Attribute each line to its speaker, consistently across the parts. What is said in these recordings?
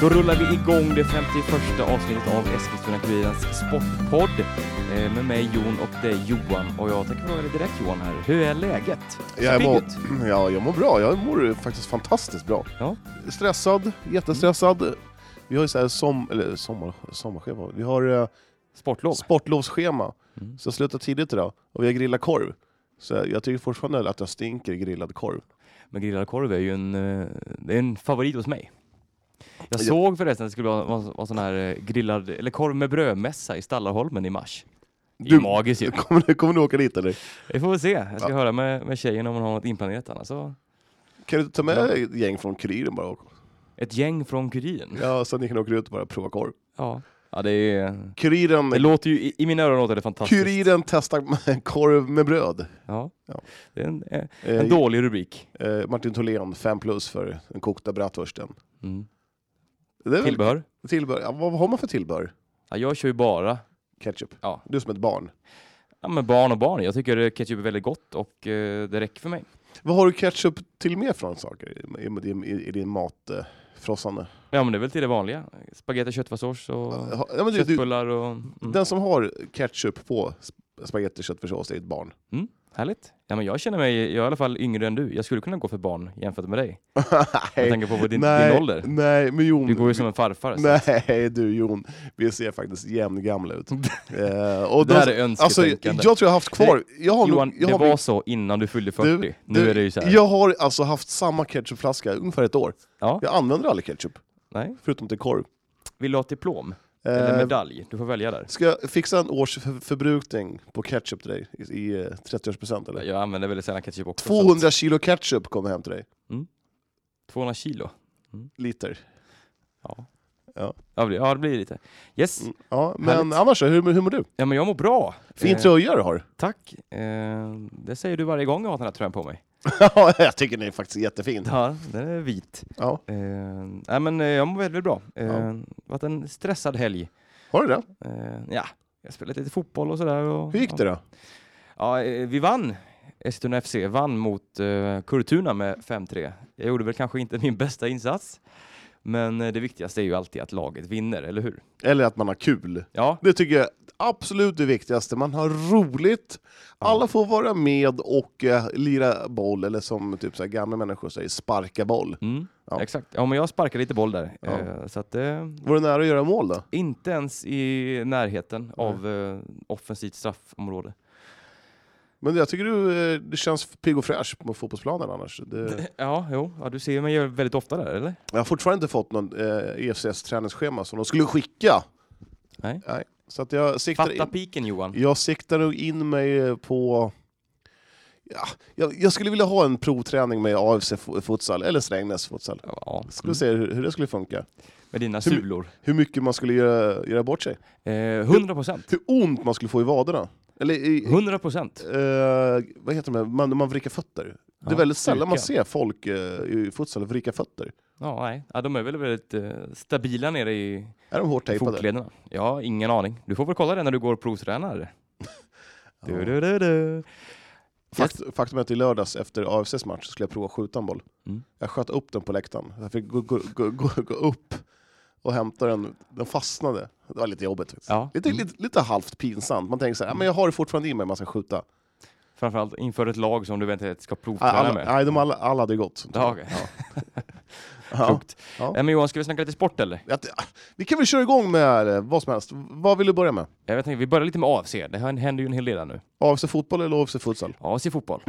Speaker 1: Då rullar vi igång det 51 avsnittet av Eskilstuna-Kurirens sportpodd eh, med mig Jon och dig Johan. Och jag tänker fråga dig direkt Johan här, hur är läget? Ser
Speaker 2: Jag
Speaker 1: pigg
Speaker 2: mår,
Speaker 1: ut.
Speaker 2: ja, jag mår bra. Jag mår faktiskt fantastiskt bra.
Speaker 1: Ja. Mm.
Speaker 2: Stressad, jättestressad. Vi har ju så här som, eller sommar, sommarschema. Vi har eh,
Speaker 1: Sportlov?
Speaker 2: sportlovsschema.
Speaker 1: Mm.
Speaker 2: Så jag slutar tidigt idag och vi har grillat korv. Så jag tycker fortfarande att jag stinker i grillad korv.
Speaker 1: Men grillad korv är ju en, eh, det är en favorit hos mig. Jag
Speaker 2: Ja.
Speaker 1: såg förresten att det skulle vara, vara, vara sån här eh, grillad, eller korv med brödmässa i Stallarholmen i mars. Det är
Speaker 2: Du-
Speaker 1: ju magiskt ju.
Speaker 2: Mm. Kommer, du- kommer du åka dit eller?
Speaker 1: Vi får väl se. Jag ska höra med, med tjejen om hon har något inplanerat annars. Så.
Speaker 2: Kan du ta med ett gäng från Kuriren bara? Och,
Speaker 1: Ett gäng från Kuriren.
Speaker 2: ja, så att ni kan åka ut och bara prova korv.
Speaker 1: Ja. Ja, det, är, det
Speaker 2: Kuriren,
Speaker 1: låter ju, i, i mina öron låter det fantastiskt.
Speaker 2: kuriren testar korv med bröd.
Speaker 1: Ja.
Speaker 2: Ja.
Speaker 1: Det är en, eh,
Speaker 2: Eh,
Speaker 1: en dålig rubrik.
Speaker 2: eh, Martin Tholén, 5 plus för den kokta bratwursten.
Speaker 1: Mm.
Speaker 2: Det är väl-
Speaker 1: Tillbehör?
Speaker 2: Tillbehör. Ja, vad har man för tillbehör?
Speaker 1: Ja, jag kör ju bara
Speaker 2: Ketchup.
Speaker 1: Ja.
Speaker 2: Du är som ett barn.
Speaker 1: ja, men barn och barn. Jag tycker eh, ketchup är väldigt gott och eh, det räcker för mig.
Speaker 2: Vad har du ketchup till med för några saker i, i, i, i din matfrossande?
Speaker 1: Ja, men det är väl till det vanliga. Spagetti, köttfärssås och
Speaker 2: Ja, men du, du,
Speaker 1: köttbullar och... Mm.
Speaker 2: den som har ketchup på sp- spagetti köttfärssås är ett barn.
Speaker 1: Härligt. Ja, men jag känner mig, jag är i alla fall yngre än du. Jag skulle kunna gå för barn jämfört med dig. Jag tänker på din, din ålder.
Speaker 2: Nej, men Jon.
Speaker 1: Du går ju som en farfar. alltså. så.
Speaker 2: Nej du Jon, vi ser faktiskt jämngamla ut. eh, och
Speaker 1: Det
Speaker 2: de-
Speaker 1: här är
Speaker 2: alltså, jag
Speaker 1: önsketänkande.
Speaker 2: tror jag har haft kvar... Jag har, nog-
Speaker 1: Johan,
Speaker 2: jag
Speaker 1: det
Speaker 2: har
Speaker 1: var så innan du fyllde 40.
Speaker 2: Du-
Speaker 1: nu
Speaker 2: du-
Speaker 1: är det ju så här.
Speaker 2: Jag har alltså haft samma ketchupflaska i ungefär ett år.
Speaker 1: Ja.
Speaker 2: Jag använder aldrig ketchup,
Speaker 1: Nej.
Speaker 2: förutom till korv.
Speaker 1: Vill du ha ett diplom? Eller
Speaker 2: Eh,
Speaker 1: medalj? Du får välja där.
Speaker 2: Ska jag fixa en års för- förbrukning på ketchup till dig i- i eh, 30-årspresent eller?
Speaker 1: Jag använder väldigt sällan ketchup också. så att-
Speaker 2: 200 kilo ketchup kommer hem till dig.
Speaker 1: 200 kilo.
Speaker 2: Liter.
Speaker 1: Ja.
Speaker 2: Ja.
Speaker 1: Ja, det blir- ja, det blir lite. Yes.
Speaker 2: Mm, Ja, men
Speaker 1: Härligt.
Speaker 2: annars då, hur, hur mår du?
Speaker 1: Ja, men jag mår bra.
Speaker 2: Fin
Speaker 1: Eh,
Speaker 2: tröja du har.
Speaker 1: Tack. Eh, det säger du varje gång jag har den här tröjan på mig.
Speaker 2: Ja, jag tycker den är faktiskt jättefin.
Speaker 1: Ja, den är vit.
Speaker 2: Ja.
Speaker 1: Eh, nej, men eh, jag mår väldigt bra. Eh,
Speaker 2: Ja.
Speaker 1: varit en stressad helg.
Speaker 2: Har du det?
Speaker 1: Eh, ja, jag spelade lite fotboll och sådär. Och,
Speaker 2: Hur gick det då?
Speaker 1: Ja, eh, vi vann. Eskilstuna FC vann mot eh, Kurtuna med 5-3. Jag gjorde väl kanske inte min bästa insats, men eh, det viktigaste är ju alltid att laget vinner, eller hur?
Speaker 2: Eller att man har kul.
Speaker 1: Ja,
Speaker 2: Det tycker jag är absolut det viktigaste. Man har roligt, alla får vara med och eh, lira boll, eller som typ så här gamla människor säger, sparka boll.
Speaker 1: mm,
Speaker 2: Ja.
Speaker 1: exakt. Ja, men jag sparkade lite boll där,
Speaker 2: Ja.
Speaker 1: eh, så att eh,
Speaker 2: Var du nära att göra mål då?
Speaker 1: inte ens i närheten av eh, offensivt straffområde.
Speaker 2: Men jag tycker du, eh, du känns pigg och fräsch på fotbollsplanen annars. Det,
Speaker 1: Ja, jo, ja, du ser mig ju väldigt ofta där, eller?
Speaker 2: jag har fortfarande inte fått någon eh, EFCs träningsschema som de skulle skicka.
Speaker 1: Nej.
Speaker 2: Så att jag siktar
Speaker 1: Fatta
Speaker 2: in,
Speaker 1: piken Johan.
Speaker 2: jag siktar nog in mig på... Ja, jag, jag skulle vilja ha en provträning med AFC fo- futsal, eller Strängnäs futsal.
Speaker 1: Ja,
Speaker 2: Skulle
Speaker 1: mm.
Speaker 2: se hur, hur det skulle funka.
Speaker 1: Med dina
Speaker 2: Hur-
Speaker 1: sulor.
Speaker 2: Hur mycket man skulle göra, göra bort sig.
Speaker 1: Eh, 100 procent.
Speaker 2: Hur ont man skulle få i vaderna. Eller i,
Speaker 1: 100 procent.
Speaker 2: eh, vad heter det, man, man vrickar fötter. det
Speaker 1: Ja,
Speaker 2: är väldigt sällan man
Speaker 1: styrka.
Speaker 2: ser folk eh, i futsal vricka fötter.
Speaker 1: Ja, nej. Ja, de är väl väldigt eh, stabila nere i
Speaker 2: Är de hårt tejpade?
Speaker 1: fotlederna. Ja, ingen aning. Du får väl kolla det när du går och provtränar. Du, du, du, du.
Speaker 2: Fakt, Faktum är att i lördags efter AFCs match skulle jag prova att skjuta en boll.
Speaker 1: Mm.
Speaker 2: Jag sköt upp den på läktaren. Jag fick gå, gå, gå, gå, gå upp och hämta den. Den fastnade. Det var lite jobbigt faktiskt.
Speaker 1: Ja.
Speaker 2: Lite,
Speaker 1: Mm.
Speaker 2: lite, lite halvt pinsamt. Man tänker så här, "Ja, men jag har det fortfarande i mig, man ska skjuta.
Speaker 1: Framförallt inför ett lag som du eventuellt ska
Speaker 2: Alla,
Speaker 1: provträna
Speaker 2: alla,
Speaker 1: med.
Speaker 2: nej, de alla, alla hade gått.
Speaker 1: Ja, okej.
Speaker 2: Ja.
Speaker 1: Klokt.
Speaker 2: Ja.
Speaker 1: Nej, Men Johan, ska vi snacka lite sport eller?
Speaker 2: Att- Vi kan väl köra igång med eh, vad som helst. Vad vill du börja med?
Speaker 1: Jag tänkte, vi börjar lite med AFC. Det här händer ju en hel del här nu.
Speaker 2: AFC fotboll eller AFC futsal?
Speaker 1: AFC fotboll.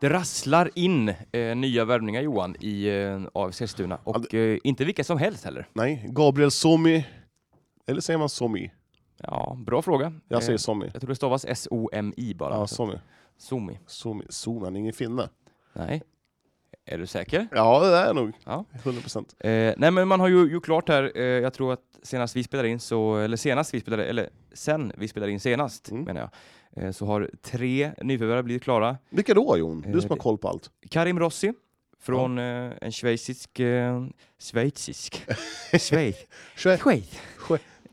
Speaker 1: Det rasslar in eh, nya värvningar Johan i eh, AFC Eskilstuna
Speaker 2: Ja,
Speaker 1: och eh, inte vilka som helst heller.
Speaker 2: Nej, Gabriel Somi. Eller säger man Somi?
Speaker 1: Ja, bra fråga.
Speaker 2: Jag
Speaker 1: Eh,
Speaker 2: säger Somi.
Speaker 1: jag tror det stavas S-O-M-I bara.
Speaker 2: Ja,
Speaker 1: så-
Speaker 2: Somi.
Speaker 1: Somi.
Speaker 2: Somi. Somi. Han är ingen finne.
Speaker 1: Nej. Är du säker?
Speaker 2: Ja, det är jag nog.
Speaker 1: Ja.
Speaker 2: 100%.
Speaker 1: Eh, nej men man har ju gjort klart här, eh, jag tror att senast vi spelade in så, eller senast vi spelade, eller sen vi spelade in senast
Speaker 2: Mm.
Speaker 1: menar jag, eh, så har tre nyförvärv blivit klara.
Speaker 2: Vilka då Jon?
Speaker 1: Eh,
Speaker 2: Du som har koll på allt.
Speaker 1: Karim Rossi Från eh, en schweizisk... Eh, schweizisk? Schweiz?
Speaker 2: Schwe-
Speaker 1: Schweiz?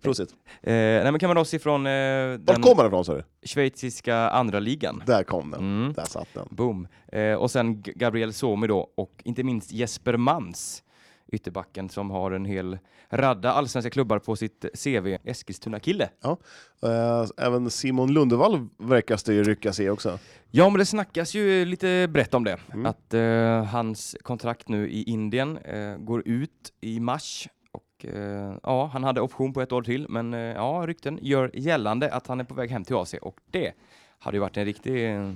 Speaker 2: Prosit.
Speaker 1: Eh, nej men kan man då se från eh,
Speaker 2: Vart
Speaker 1: den
Speaker 2: kommer den ifrån sa du?
Speaker 1: schweiziska andra ligan.
Speaker 2: Där kom den.
Speaker 1: Mm.
Speaker 2: Där satt den.
Speaker 1: Boom. Eh, och sen G- Gabriel Somi då och inte minst Jesper Mans, ytterbacken som har en hel radda allsvenska klubbar på sitt CV. Eskilstuna-kille.
Speaker 2: Eh, även Simon Lundevall verkar det ju ryckas i också.
Speaker 1: Ja, men det snackas ju lite brett om det.
Speaker 2: Mm.
Speaker 1: Att eh, hans kontrakt nu i Indien eh, går ut i mars. Och eh, ja, han hade option på ett år till, men eh, ja, rykten gör gällande att han är på väg hem till AC och det hade ju varit en riktig eh,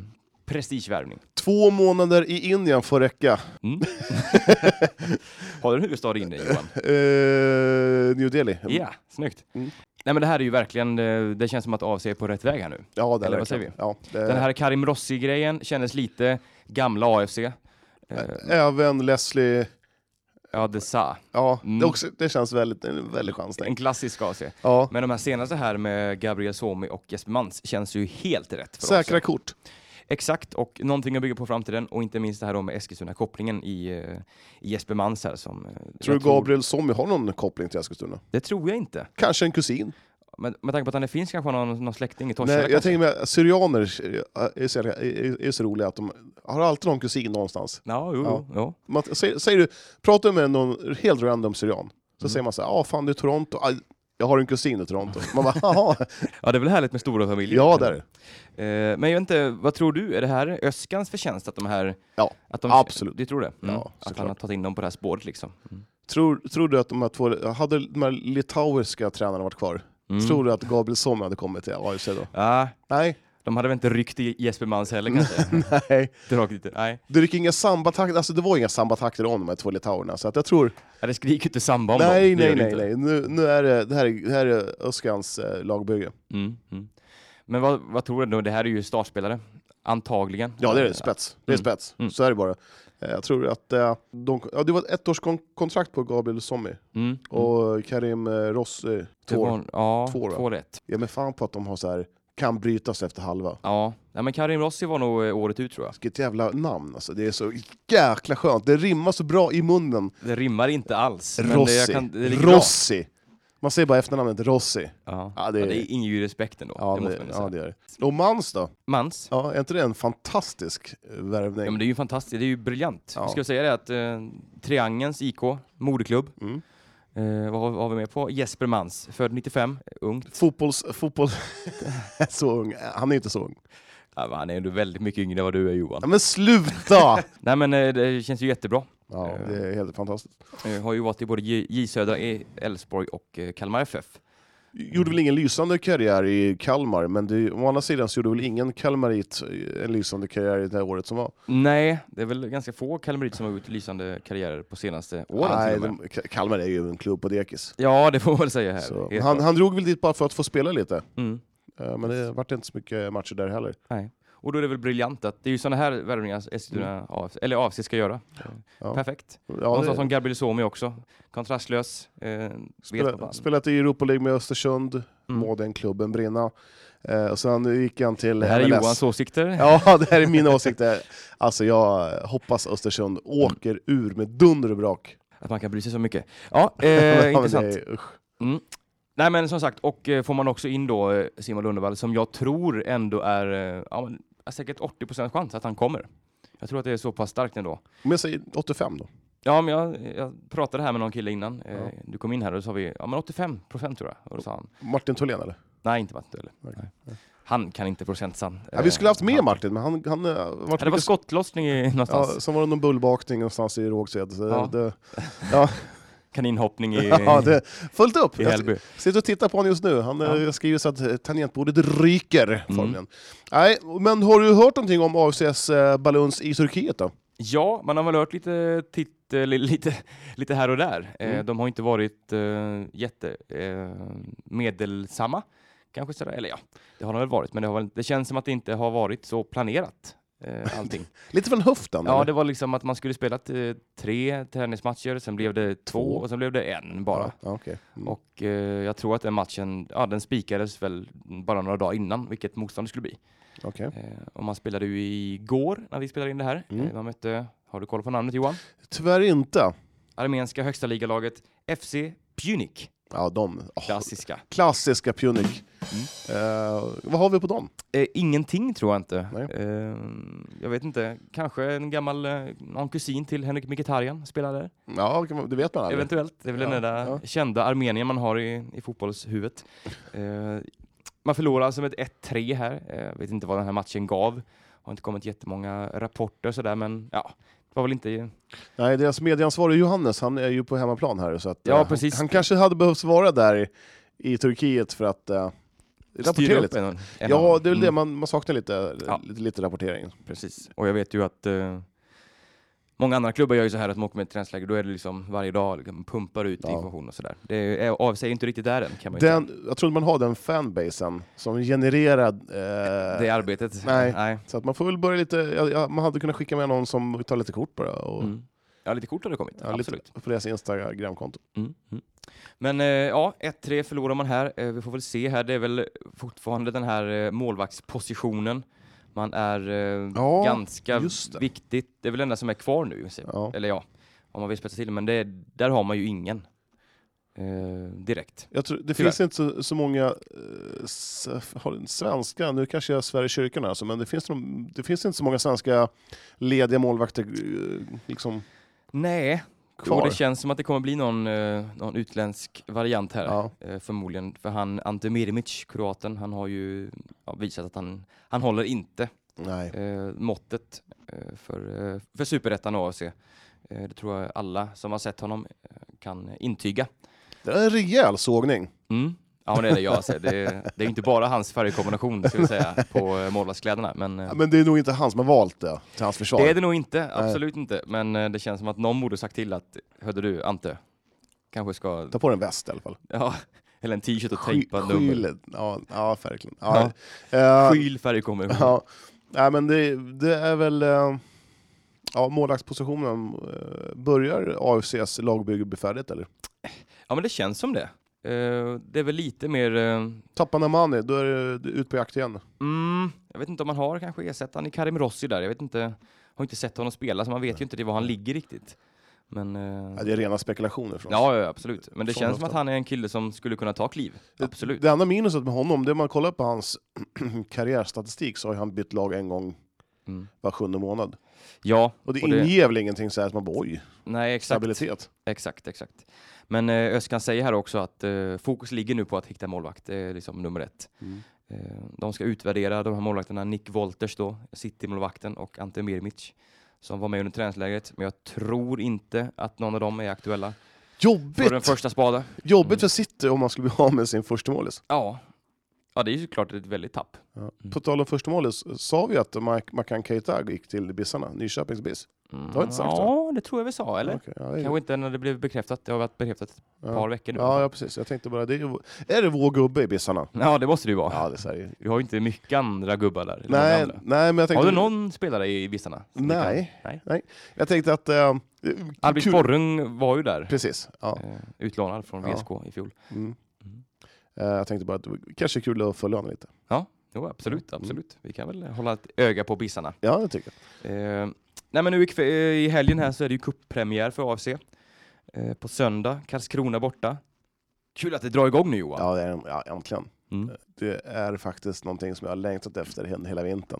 Speaker 1: prestigevärvning.
Speaker 2: Två månader i Indien får räcka.
Speaker 1: Mm. Har du en huvudstad i Indien, Johan?
Speaker 2: Eh, New Delhi.
Speaker 1: Ja, snyggt.
Speaker 2: Mm.
Speaker 1: Nej, men det här är ju verkligen, eh, det känns som att AC är på rätt väg här nu.
Speaker 2: Ja, det
Speaker 1: Eller vad
Speaker 2: verkar.
Speaker 1: säger vi?
Speaker 2: Ja, det-
Speaker 1: Den här Karim Rossi-grejen kändes lite gamla AFC. Eh,
Speaker 2: Även Leslie.
Speaker 1: ja, det sa.
Speaker 2: Ja,
Speaker 1: Mm.
Speaker 2: det, också, det känns väldigt, en väldigt chansning.
Speaker 1: En klassisk AC.
Speaker 2: Ja.
Speaker 1: Men de här senaste här med Gabriel Somi och Jesper Mans känns ju helt rätt för
Speaker 2: Säkra
Speaker 1: oss.
Speaker 2: kort.
Speaker 1: Exakt, och någonting att bygga på framtiden och inte minst det här då med Eskilstuna-kopplingen i, eh, i Jesper Mans här som... eh,
Speaker 2: Tror du
Speaker 1: jag tror-
Speaker 2: Gabriel Sommy har någon koppling till Eskilstuna?
Speaker 1: Det tror jag inte.
Speaker 2: Kanske en kusin?
Speaker 1: Men med tanke på att han är finsk kanske han har någon, någon släkting i Torshälla
Speaker 2: Nej, jag
Speaker 1: kanske.
Speaker 2: tänker mig, syrianer är, är, så jävla- är, är så roliga att de har alltid någon kusin någonstans.
Speaker 1: Ja, jo,
Speaker 2: Ja.
Speaker 1: jo, jo.
Speaker 2: Man, säger, säger du, pratar du med någon helt random syrian, så
Speaker 1: Mm.
Speaker 2: säger man så här, ja fan du är i Toronto, Aj, jag har en kusin i Toronto. Man bara, jaha,
Speaker 1: Ja, det är väl härligt med stora familjer.
Speaker 2: ja där.
Speaker 1: Eh, men jag vet inte, vad tror du? Är det här Öskans förtjänst att de här...
Speaker 2: Ja,
Speaker 1: att de,
Speaker 2: absolut.
Speaker 1: Du tror det? Mm.
Speaker 2: Ja,
Speaker 1: att han
Speaker 2: såklart.
Speaker 1: har tagit in dem på det här spåret liksom. Mm.
Speaker 2: Tror, tror du att de här två, hade de här litauiska tränarna varit kvar,
Speaker 1: Mm.
Speaker 2: tror du att Gabriel Sommer hade kommit till AFC då?
Speaker 1: Ja,
Speaker 2: Nej,
Speaker 1: Ah, de hade väl inte ryckt i Jesper Mans heller kanske?
Speaker 2: nej.
Speaker 1: Rakt inte. Nej.
Speaker 2: Det gick inga sambatakter, alltså det var inga sambatakter om de här två litauerna, så att jag tror
Speaker 1: Ja, det skriker ju inte samba om dem.
Speaker 2: Nej,
Speaker 1: Det gör
Speaker 2: nej,
Speaker 1: det
Speaker 2: nej,
Speaker 1: inte.
Speaker 2: nej. Nu, nu är det, det här är, det här är Öskans eh, lagbygge.
Speaker 1: Mm, mm. Men vad, vad tror du? då? Det här är ju startspelare, antagligen.
Speaker 2: Ja, det är det. Eh, Spets. Det är
Speaker 1: Mm.
Speaker 2: spets.
Speaker 1: Mm.
Speaker 2: Så är det bara. Eh, Jag tror att eh, de, ja, det var ett ettårskontrakt på Gabriel Sommy
Speaker 1: Mm, mm.
Speaker 2: och Karim eh, Rossi,
Speaker 1: Det
Speaker 2: två år.
Speaker 1: var- Ja,
Speaker 2: Två, va?
Speaker 1: två rätt.
Speaker 2: Ja men fan på att de har så här kan brytas efter halva.
Speaker 1: Ja. ja, men Karim Rossi var nog eh, året ut tror jag.
Speaker 2: Vilket jävla namn alltså, det är så jäkla skönt. Det rimmar så bra i munnen.
Speaker 1: Det rimmar inte alls. Men det,
Speaker 2: Rossi.
Speaker 1: jag kan, det ligger bra.
Speaker 2: Rossi. Man säger bara efternamnet Rossi.
Speaker 1: Ja.
Speaker 2: Ja, det
Speaker 1: det,
Speaker 2: är-
Speaker 1: ja, det inger ju respekt ändå.
Speaker 2: Ja,
Speaker 1: det
Speaker 2: det,
Speaker 1: måste man ju
Speaker 2: ja,
Speaker 1: säga.
Speaker 2: det är det. Och Mans då?
Speaker 1: Mans?
Speaker 2: Ja, är inte det en fantastisk eh, värvning?
Speaker 1: Ja, men det är ju fantastiskt, det är ju briljant.
Speaker 2: Ja.
Speaker 1: Ja. Ska jag säga det att eh, Triangens IK, moderklubb,
Speaker 2: Mm.
Speaker 1: eh, vad har, vad har vi med på? Jesper Mans, född 95, eh, ung.
Speaker 2: Fotbolls... Fotboll... så ung. Han är inte så ung.
Speaker 1: Ja, men han är ändå väldigt mycket yngre än vad du är Johan.
Speaker 2: Ja, men sluta!
Speaker 1: Nej men eh, det känns ju jättebra.
Speaker 2: ja, det är helt fantastiskt.
Speaker 1: Eh, har ju varit i både J, J Södra, E- Elfsborg och eh, Kalmar FF.
Speaker 2: Gjorde väl ingen lysande karriär i Kalmar, men det, å andra sidan så gjorde väl ingen kalmarit en lysande karriär i det här året som var.
Speaker 1: Nej, det är väl ganska få kalmariter som har gjort lysande karriärer på senaste åren till
Speaker 2: Nej,
Speaker 1: och med.
Speaker 2: de, Ka- Kalmar är ju en klubb på dekis.
Speaker 1: Ja, det får man väl säga här.
Speaker 2: Så,
Speaker 1: Helt
Speaker 2: han,
Speaker 1: klart.
Speaker 2: han drog väl dit bara för att få spela lite,
Speaker 1: Mm.
Speaker 2: Eh, men det vart inte så mycket matcher där heller.
Speaker 1: Nej. Och då är det väl briljant att det är ju sådana här värvningar Eskilstuna AFC, eller AFC ska göra.
Speaker 2: Mm. Ja.
Speaker 1: Perfekt.
Speaker 2: Ja,
Speaker 1: Någonstans
Speaker 2: det,
Speaker 1: som Gabriel Suomi också. Kontrastlös. Eh, vet
Speaker 2: spela,
Speaker 1: vad
Speaker 2: spelat i Europa League med Östersund,
Speaker 1: Mm.
Speaker 2: må den klubben brinna. Eh, och sen gick han till
Speaker 1: Det här är
Speaker 2: MLS.
Speaker 1: Johans åsikter.
Speaker 2: Ja, det här är mina åsikter. Alltså jag hoppas Östersund åker ur med dunder och brak.
Speaker 1: Att man kan bry sig så mycket. Ja,
Speaker 2: Men
Speaker 1: eh,
Speaker 2: det
Speaker 1: intressant.
Speaker 2: är- usch.
Speaker 1: Nej men som sagt, och eh, får man också in då eh, Simon Lundevall som jag tror ändå är eh, ja, men, är säkert 80% chans att han kommer. Jag tror att det är så pass starkt ändå.
Speaker 2: Men jag säger 85 då.
Speaker 1: Ja men jag, jag pratade här med någon kille innan eh,
Speaker 2: Ja.
Speaker 1: du kom in här och då sa vi ja men 85% tror jag. Och då sa han
Speaker 2: Martin Tholén eller?
Speaker 1: nej inte Martin Döle.
Speaker 2: Okej.
Speaker 1: Han kan inte procentsan.
Speaker 2: Ja, vi skulle haft
Speaker 1: han-
Speaker 2: med Martin, men han... han eh, vart
Speaker 1: Ja, det var
Speaker 2: mycket-
Speaker 1: skottlossning i, någonstans.
Speaker 2: ja, sen var det någon bullbakning någonstans i Rågsved. Så
Speaker 1: Ja.
Speaker 2: det,
Speaker 1: Kaninhoppning i,
Speaker 2: ja, det fullt upp!
Speaker 1: i
Speaker 2: Jag
Speaker 1: Hällby.
Speaker 2: sitter och tittar på honom just nu. Han eh,
Speaker 1: Ja.
Speaker 2: skriver så att eh, tangentbordet ryker.
Speaker 1: Mm.
Speaker 2: formligen. Nej, men har du hört någonting om AFCs eh, baluns i Turkiet då?
Speaker 1: Ja, man har väl hört lite, titt, eh, li- lite, lite här och där. Eh,
Speaker 2: Mm.
Speaker 1: De har inte varit eh, jätte, eh, medelsamma. Kanske sådär, eller ja, det har de väl varit, men det, har väl, det känns som att det inte har varit så planerat. Eh, allting.
Speaker 2: Lite från höften?
Speaker 1: ja,
Speaker 2: eller?
Speaker 1: det var liksom att man skulle spela eh, tre träningsmatcher, sen blev det två
Speaker 2: Två.
Speaker 1: och sen blev det en bara.
Speaker 2: Ja, okej. Mm.
Speaker 1: Och eh, jag tror att den matchen, ja den spikades väl bara några dagar innan vilket motstånd det skulle bli.
Speaker 2: Okej.
Speaker 1: Eh, och man spelade ju igår när vi spelade in det här.
Speaker 2: Mm.
Speaker 1: Eh, man mötte, har Har du koll på namnet Johan?
Speaker 2: Tyvärr inte.
Speaker 1: Armenska högsta ligalaget FC Punic.
Speaker 2: Ja, de oh,
Speaker 1: Klassiska.
Speaker 2: klassiska Punic.
Speaker 1: Mm.
Speaker 2: Eh, vad har vi på dem?
Speaker 1: Eh, ingenting tror jag inte.
Speaker 2: Nej.
Speaker 1: Eh, jag vet inte. Kanske en gammal, eh, någon kusin till Henrik Mkhitaryan spelar där.
Speaker 2: Ja, det kan man- det vet man aldrig.
Speaker 1: Eventuellt. Det är väl
Speaker 2: Ja,
Speaker 1: den där
Speaker 2: ja.
Speaker 1: kända Armenien man har i, i fotbollshuvudet. Eh, man förlorar alltså med 1-3 här. Eh, vet inte vad den här matchen gav. Har inte kommit jättemånga rapporter och sådär, men ja. Det var väl inte...
Speaker 2: Nej, deras medieansvarige Johannes, han är ju på hemmaplan här. Så att, eh,
Speaker 1: Ja,
Speaker 2: han-
Speaker 1: precis.
Speaker 2: Han kanske hade behövt vara där i Turkiet för att eh, rapportera lite.
Speaker 1: en, en
Speaker 2: Ja,
Speaker 1: annan.
Speaker 2: det är väl det
Speaker 1: Mm.
Speaker 2: man, man saknar lite,
Speaker 1: Ja.
Speaker 2: lite, lite rapportering.
Speaker 1: Precis. Och jag vet ju att eh, många andra klubbar gör ju så här att de åker med ett träningsläger. Då är det liksom varje dag, liksom, pumpar ut
Speaker 2: Ja.
Speaker 1: information och sådär. Det är, AFC är ju eh, inte riktigt där än kan man ju säga.
Speaker 2: Den, jag tror man har den fanbasen som genererar... Eh,
Speaker 1: Det arbetet.
Speaker 2: nej.
Speaker 1: nej.
Speaker 2: Så att man får väl börja lite... Ja, ja, man hade kunnat skicka med någon som tar lite kort bara. Och,
Speaker 1: Mm. Ja, lite kort har det kommit.
Speaker 2: ja,
Speaker 1: Absolut.
Speaker 2: lite på deras Instagramkonto.
Speaker 1: Mm. Mm. Men eh, ja, 1-3 förlorar man här. Eh, vi får väl se här. Det är väl fortfarande den här eh, målvaktspositionen. Man är eh,
Speaker 2: Ja,
Speaker 1: ganska
Speaker 2: just det.
Speaker 1: viktigt. Det är väl det enda som är kvar nu. så-
Speaker 2: Ja.
Speaker 1: Eller ja, om man vill spetsa till Men det, där har man ju ingen. Eh, direkt.
Speaker 2: Jag tror, det
Speaker 1: Tyvärr.
Speaker 2: finns inte så, så många eh, s- har- svenska, nu kanske jag svär i kyrkan alltså, men det finns, de, det finns inte så många svenska lediga målvakter eh, liksom,
Speaker 1: Nej,
Speaker 2: kvar.
Speaker 1: och det känns som att det kommer bli någon, eh, någon utländsk variant här.
Speaker 2: ja.
Speaker 1: Eh, förmodligen. För han, Ante Mirimic, kroaten, han har ju ja, visat att han, han håller inte
Speaker 2: Nej.
Speaker 1: eh, måttet eh, för, eh, för superettan och AFC. Eh, det tror jag alla som har sett honom eh, kan intyga.
Speaker 2: Det är en rejäl sågning.
Speaker 1: Mm. Ja, men det är det jag säger. Det, är- det är ju inte bara hans färgkombination ska vi säga, på eh, målvaktskläderna. Men, eh,
Speaker 2: Ja, Men det är nog inte han som har valt det till hans försvar.
Speaker 1: det är det nog inte, absolut inte. Men eh, det känns som att någon borde sagt till att, hörde du Ante, kanske ska,
Speaker 2: Ta på dig en väst i alla fall.
Speaker 1: ja, eller en t-shirt och
Speaker 2: Sky-
Speaker 1: tejpa nummer.
Speaker 2: skylet. Ja, ja verkligen. Ja. Ja.
Speaker 1: Skyl färgkombination.
Speaker 2: ja. Nej, men det, det är väl... eh, Ja, målvaktspositionen. eh, Börjar AFCs lagbygge bli färdigt eller?
Speaker 1: Ja, men det känns som det. Eh, det är väl lite mer eh,
Speaker 2: Tappar Namani, då är det du är ut på jakt igen.
Speaker 1: Mm, jag vet inte om man har kanske ersättaren i Karim Rossi där. Jag vet inte, har inte sett honom spela så man vet ju inte det var han ligger riktigt. Men, eh,
Speaker 2: Ja, det är rena spekulationer från oss.
Speaker 1: ja, ja, absolut. Men det
Speaker 2: Från
Speaker 1: känns som att
Speaker 2: höften.
Speaker 1: han är en kille som skulle kunna ta kliv. Absolut.
Speaker 2: Det enda minuset med honom, det är om man kollar på hans karriärstatistik så har ju han bytt lag en gång
Speaker 1: Mm.
Speaker 2: var sjunde månad.
Speaker 1: Ja,
Speaker 2: Och det inger väl ingenting så här att man bara oj,
Speaker 1: nej, exakt,
Speaker 2: stabilitet.
Speaker 1: exakt, exakt. Men eh, Özcan säger här också att eh, fokus ligger nu på att hitta målvakt. Det är liksom nummer ett.
Speaker 2: Mm.
Speaker 1: Eh, de ska utvärdera de här målvakterna, Nick Wolters då, City-målvakten och Ante Mirmic som var med under träningslägret. Men jag tror inte att någon av dem är aktuella för den Mm.
Speaker 2: Jobbigt!
Speaker 1: första spaden.
Speaker 2: Jobbigt för City om man skulle bli av med sin förstemålis.
Speaker 1: Ja. Ja, det är ju såklart ett väldigt tapp.
Speaker 2: På tal om förstemålis, sa vi att Mark- Makan Keita gick till Bissarna, Nyköpings Biss?
Speaker 1: Mm.
Speaker 2: Det har jag inte sagt,
Speaker 1: Ja, det tror jag vi sa, eller?
Speaker 2: Okej, ja, det är-
Speaker 1: Kanske inte när det blev bekräftat. Det har varit bekräftat ett par
Speaker 2: ja.
Speaker 1: veckor nu.
Speaker 2: Ja, ja, precis. Jag tänkte bara, det är, ju- är det vår gubbe i Bissarna?
Speaker 1: Ja, det måste det ju vara.
Speaker 2: Ja, det säger ju.
Speaker 1: Du har ju inte mycket andra gubbar där. eller många
Speaker 2: Nej,
Speaker 1: andra.
Speaker 2: nej, men jag tänkte...
Speaker 1: Har du någon spelare i Vissarna? som du
Speaker 2: Nej.
Speaker 1: kan- Nej.
Speaker 2: Jag tänkte att... Eh,
Speaker 1: Albin
Speaker 2: kul-
Speaker 1: Sporrung var ju där,
Speaker 2: Precis, ja.
Speaker 1: eh, utlånad från
Speaker 2: Ja.
Speaker 1: VSK i fjol.
Speaker 2: Mm.
Speaker 1: Mm.
Speaker 2: Eh, jag tänkte bara att det var kanske kul att följa honom lite.
Speaker 1: Jo, absolut,
Speaker 2: Mm.
Speaker 1: absolut. Vi kan väl hålla ett öga på Bissarna.
Speaker 2: Ja, det tycker jag.
Speaker 1: Eh, nej men nu i, kve- eh, i helgen här så är det ju cuppremiär för AFC. Eh, på söndag, Karlskrona borta. Kul att det drar igång nu Johan.
Speaker 2: Ja, det är, ja, äntligen.
Speaker 1: Mm.
Speaker 2: Det är faktiskt någonting som jag har längtat efter he- hela vintern.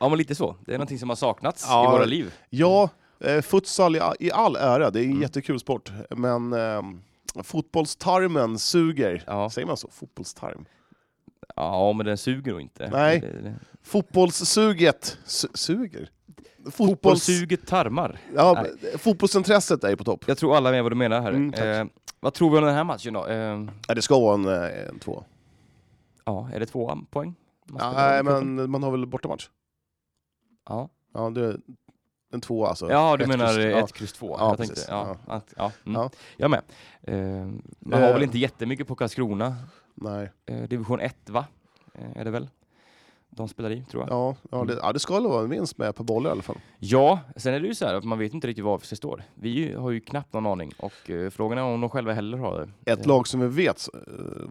Speaker 1: Ja men lite så. Det är någonting som har saknats
Speaker 2: Ja.
Speaker 1: i våra liv.
Speaker 2: Ja, eh, futsal i, i all ära, det är en
Speaker 1: Mm.
Speaker 2: jättekul sport, men eh, fotbollstarmen suger.
Speaker 1: Ja,
Speaker 2: Säger man så? Fotbollstarm?
Speaker 1: ja men den suger nog inte.
Speaker 2: Nej.
Speaker 1: Det- det-
Speaker 2: Fotbollssuget su suger? Fotbolls,
Speaker 1: Fotbollssuget tarmar.
Speaker 2: ja, fotbollsintresset är ju på topp.
Speaker 1: Jag tror alla är med vad du menar här.
Speaker 2: Mm, tack.
Speaker 1: eh, vad tror vi om den här matchen då? Eh,
Speaker 2: Ja, det ska vara en, eh, en två.
Speaker 1: ja, är det två poäng? Man spelar
Speaker 2: Nej,
Speaker 1: i cupen?
Speaker 2: men man har väl bortamatch?
Speaker 1: Ja,
Speaker 2: Ja, det är en två alltså.
Speaker 1: ja du
Speaker 2: Ett
Speaker 1: menar
Speaker 2: kryss,
Speaker 1: eh,
Speaker 2: ja.
Speaker 1: ett kryss två?
Speaker 2: Ja,
Speaker 1: jag tänkte,
Speaker 2: precis.
Speaker 1: ja, att- ja, mm.
Speaker 2: Ja.
Speaker 1: Jag med. Eh, man har
Speaker 2: Eh.
Speaker 1: väl inte jättemycket på Karlskrona
Speaker 2: Nej.
Speaker 1: eh, division 1 va? Eh, är det väl? de spelar i, tror jag. Ja.
Speaker 2: Ja, ja, det, ja, det ska vara en vinst med på bollar i alla fall.
Speaker 1: sen är det ju så här att man vet inte riktigt vad AFC står. Vi har ju knappt någon aning och eh, frågan är om de själva heller har det.
Speaker 2: Ett
Speaker 1: Eh,
Speaker 2: lag som vi vet eh,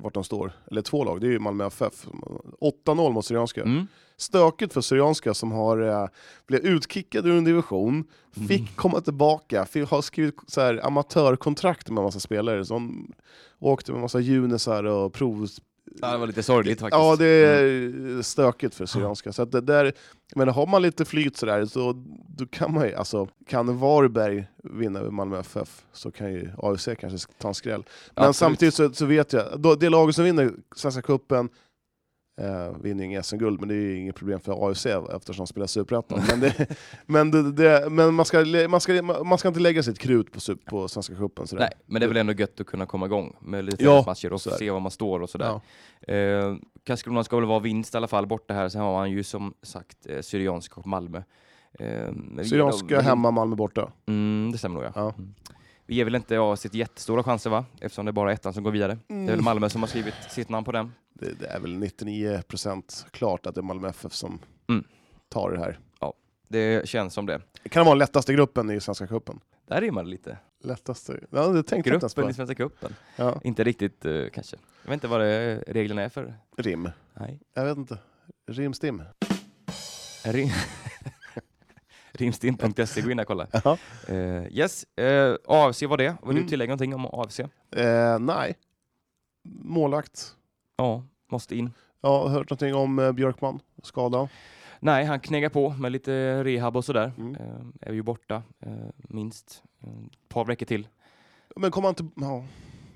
Speaker 2: vart de står, eller två lag, det är ju Malmö FF. 8-0 mot Syrianska.
Speaker 1: Mm.
Speaker 2: Stökigt för Syrianska som har eh, blev utkickade ur en division, fick komma tillbaka, fick, har skrivit så här, amatörkontrakt med en massa spelare. som åkte med en massa junisar och prov...
Speaker 1: Ja, Det var lite sorgligt faktiskt.
Speaker 2: Ja, det
Speaker 1: Mm.
Speaker 2: är stökigt för Syrianska. Så att det där, men har man lite flyt sådär, så då kan man ju, alltså, kan Varberg vinna över Malmö FF så kan ju AFC kanske ta en skräll. Men
Speaker 1: Absolut.
Speaker 2: samtidigt så, så vet jag, då, det laget som vinner Svenska Cupen eh, vinner ju inget SM-guld, men det är ju inget problem för AFC eftersom de spelar Superettan. Men, det, men, det, det, men man, ska, lä- man, ska, man ska inte lägga sitt krut på, sup- på Svenska Cupen. Sådär.
Speaker 1: Nej, men det är väl ändå gött att kunna komma igång med lite
Speaker 2: Ja,
Speaker 1: matcher och
Speaker 2: så är det.
Speaker 1: se var man står och sådär.
Speaker 2: Ja.
Speaker 1: Eh, Karlskrona ska väl vara vinst i alla fall borta här. Sen har man ju som sagt eh, Syrianska och Malmö. Eh, men vi ger
Speaker 2: Syrianska
Speaker 1: dem-
Speaker 2: hemma, Malmö borta.
Speaker 1: Mm, det stämmer nog ja.
Speaker 2: Ja.
Speaker 1: Mm. Vi ger väl inte av sitt jättestora chanser va? Eftersom det är bara ettan som går vidare. Det
Speaker 2: Mm.
Speaker 1: är väl Malmö som har skrivit sitt namn på den.
Speaker 2: Det, det är väl 99% klart att det är Malmö FF som
Speaker 1: Mm.
Speaker 2: tar det här.
Speaker 1: Det känns som det.
Speaker 2: Det kan vara den lättaste gruppen i Svenska Cupen.
Speaker 1: Där rimmar det lite.
Speaker 2: Lättaste? Ja, det tänkte jag inte ens
Speaker 1: Gruppen
Speaker 2: på.
Speaker 1: i Svenska cupen.
Speaker 2: Ja.
Speaker 1: Inte riktigt eh, kanske. Jag vet inte vad det, reglerna är för.
Speaker 2: Rim.
Speaker 1: Nej.
Speaker 2: Jag vet inte. Rimstim.
Speaker 1: Rim- Rimstim.se, E, gå in och kolla.
Speaker 2: Ja.
Speaker 1: Eh, yes, eh, AFC var det. Vill du
Speaker 2: Mm.
Speaker 1: tillägga någonting om AFC?
Speaker 2: Eh, nej. Målvakt.
Speaker 1: Ja, måste in.
Speaker 2: Ja, har hört någonting om eh, Björkman? Skada?
Speaker 1: Nej, han knegar på med lite rehab och sådär.
Speaker 2: Mm.
Speaker 1: Eh, är ju borta eh, minst eh, ett par veckor till.
Speaker 2: Men kommer han till... Ja.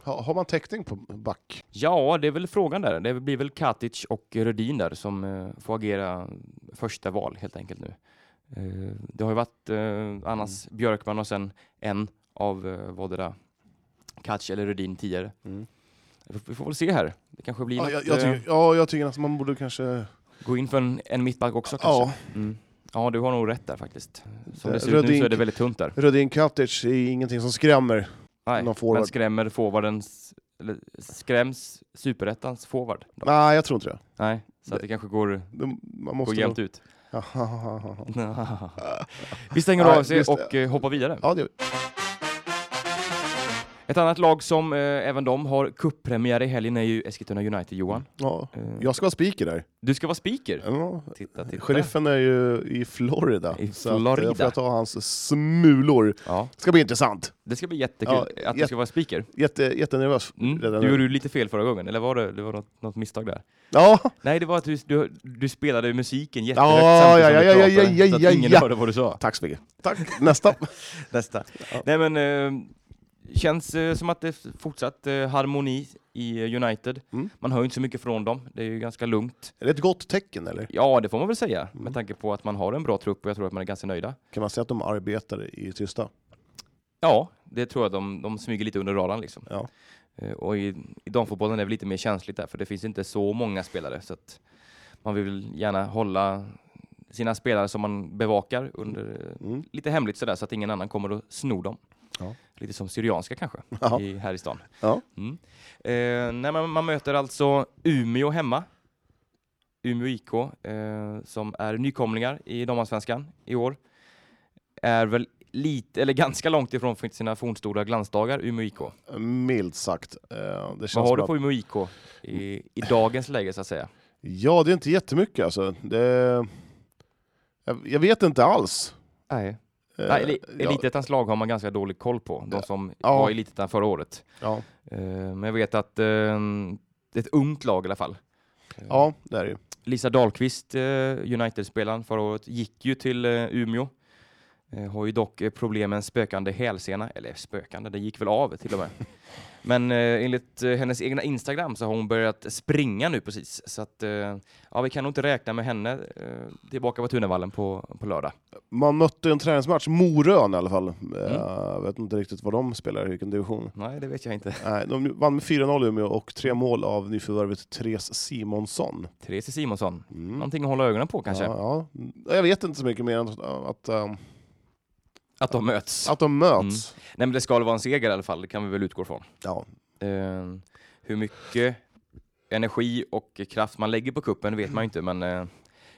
Speaker 2: Ha- Har man täckning på back?
Speaker 1: Ja, det är väl frågan där. Det blir väl Katic och Rödin där som eh, får agera första val helt enkelt nu. Eh, det har ju varit eh, annars
Speaker 2: Mm.
Speaker 1: Björkman och sen en av eh, vardera Katic eller Rödin tidigare. Vi får- Vi får väl se här. Det kanske blir
Speaker 2: Mm. Ja,
Speaker 1: något,
Speaker 2: jag, jag
Speaker 1: eh,
Speaker 2: tycker, ja, jag tycker att man borde kanske...
Speaker 1: gå in för en, en mittback också
Speaker 2: Ja,
Speaker 1: kanske. Mm. Ja, du har nog rätt där faktiskt. Som
Speaker 2: Det-
Speaker 1: det ser ut nu så
Speaker 2: Rödin-
Speaker 1: är det väldigt tunt där.
Speaker 2: Rödin Katic är ingenting som skrämmer.
Speaker 1: Nej,
Speaker 2: någon forward.
Speaker 1: men skrämmer forwardens, eller skräms superettans forward? då?
Speaker 2: Nej, jag tror inte det.
Speaker 1: Nej, så att det kanske går,
Speaker 2: Det- Man
Speaker 1: går
Speaker 2: måste...
Speaker 1: jämnt ut.
Speaker 2: nog-
Speaker 1: vi stänger
Speaker 2: Nej,
Speaker 1: av sig
Speaker 2: visst.
Speaker 1: och eh, hoppar vidare.
Speaker 2: Ja, det gör vi.
Speaker 1: Ett annat lag som eh, även de har cuppremiär i helgen är ju Eskilstuna United, Johan.
Speaker 2: Mm. ja.
Speaker 1: Eh,
Speaker 2: Jag ska ha speaker där.
Speaker 1: Du ska vara speaker.
Speaker 2: Ja.
Speaker 1: Titta, titta.
Speaker 2: Sheriffen är ju i Florida.
Speaker 1: I
Speaker 2: så att
Speaker 1: Florida.
Speaker 2: jag får ta hans smulor.
Speaker 1: Ja,
Speaker 2: ska bli intressant.
Speaker 1: det ska bli jättekul
Speaker 2: Ja,
Speaker 1: att du
Speaker 2: jätte-
Speaker 1: ska vara speaker.
Speaker 2: Jätte, jättenervös
Speaker 1: Mm.
Speaker 2: redan
Speaker 1: Du
Speaker 2: nu.
Speaker 1: gjorde ju lite fel förra gången, eller var det, det var något, något misstag där?
Speaker 2: Ja,
Speaker 1: Nej, det var att du, du, du spelade musiken jättehögt
Speaker 2: Ja,
Speaker 1: samtidigt
Speaker 2: ja,
Speaker 1: som
Speaker 2: ja,
Speaker 1: du pratade,
Speaker 2: ja, ja,
Speaker 1: så att
Speaker 2: ja,
Speaker 1: ingen
Speaker 2: ja.
Speaker 1: hörde vad du sa.
Speaker 2: tack så mycket. Tack. Nästa.
Speaker 1: Nästa.
Speaker 2: Ja.
Speaker 1: Nej, men eh, känns eh, som att det är fortsatt eh, harmoni i eh, United.
Speaker 2: Mm.
Speaker 1: Man hör ju inte så mycket från dem. Det är ju ganska lugnt.
Speaker 2: Är det ett gott tecken eller?
Speaker 1: Ja, det får man väl säga
Speaker 2: Mm.
Speaker 1: med tanke på att man har en bra trupp och jag tror att man är ganska nöjda.
Speaker 2: Kan man säga att de arbetar i tysta?
Speaker 1: Ja, det tror jag de, de smyger lite under radarn liksom.
Speaker 2: Ja.
Speaker 1: Eh, Och i, i damfotbollen är det lite mer känsligt där för det finns inte så många spelare så att man vill gärna hålla sina spelare som man bevakar under eh,
Speaker 2: Mm.
Speaker 1: lite hemligt sådär så att ingen annan kommer och snor dem.
Speaker 2: Ja.
Speaker 1: Lite som Syrianska kanske,
Speaker 2: Ja.
Speaker 1: i, här i stan.
Speaker 2: Ja.
Speaker 1: Mm. Eh, när man, man möter alltså Umeå hemma. Umeå IK eh, som är nykomlingar i damallsvenskan i år. Är väl lite, eller ganska långt ifrån från sina fornstora glansdagar, Umeå IK.
Speaker 2: Milt sagt. Eh, Det känns
Speaker 1: Vad har
Speaker 2: bra.
Speaker 1: du på Umeå IK i, i dagens läge så att säga?
Speaker 2: Ja, det är inte jättemycket alltså. Det... Jag, jag vet inte alls.
Speaker 1: Nej.
Speaker 2: Eh,
Speaker 1: Nej,
Speaker 2: ja,
Speaker 1: Elitettans lag har man ganska dålig koll på, de som
Speaker 2: Ja.
Speaker 1: var i Elitettan förra året.
Speaker 2: ja.
Speaker 1: Eh, men jag vet att eh, det är ett ungt lag i alla fall.
Speaker 2: ja, det är det ju.
Speaker 1: Lisa Dahlqvist, eh, United-spelaren förra året, gick ju till eh, Umeå. Eh, Har ju dock eh, problem med en spökande hälsena, eller eh, spökande, den gick väl av till och med. Men eh, enligt eh, hennes egna Instagram så har hon börjat springa nu precis. Så att, eh, ja, vi kan nog inte räkna med henne eh, tillbaka på Tunavallen på, på lördag.
Speaker 2: Man mötte en träningsmatch, Morön i alla fall.
Speaker 1: Mm.
Speaker 2: Eh, Jag vet inte riktigt vad de spelar, i vilken division.
Speaker 1: Nej, det vet jag inte.
Speaker 2: Nej, de vann med 4-0 i Umeå och tre mål av nyförvärvet Therese Simonsson.
Speaker 1: Therese Simonsson,
Speaker 2: Mm.
Speaker 1: någonting att hålla ögonen på kanske?
Speaker 2: Ja, ja. Jag vet inte så mycket mer än att, att, ehm,
Speaker 1: Att de möts.
Speaker 2: att de möts.
Speaker 1: Nej, men det ska väl vara en seger i alla fall, det kan vi väl utgå från.
Speaker 2: Ja.
Speaker 1: Eh, hur mycket energi och kraft man lägger på kuppen vet man ju inte, men eh,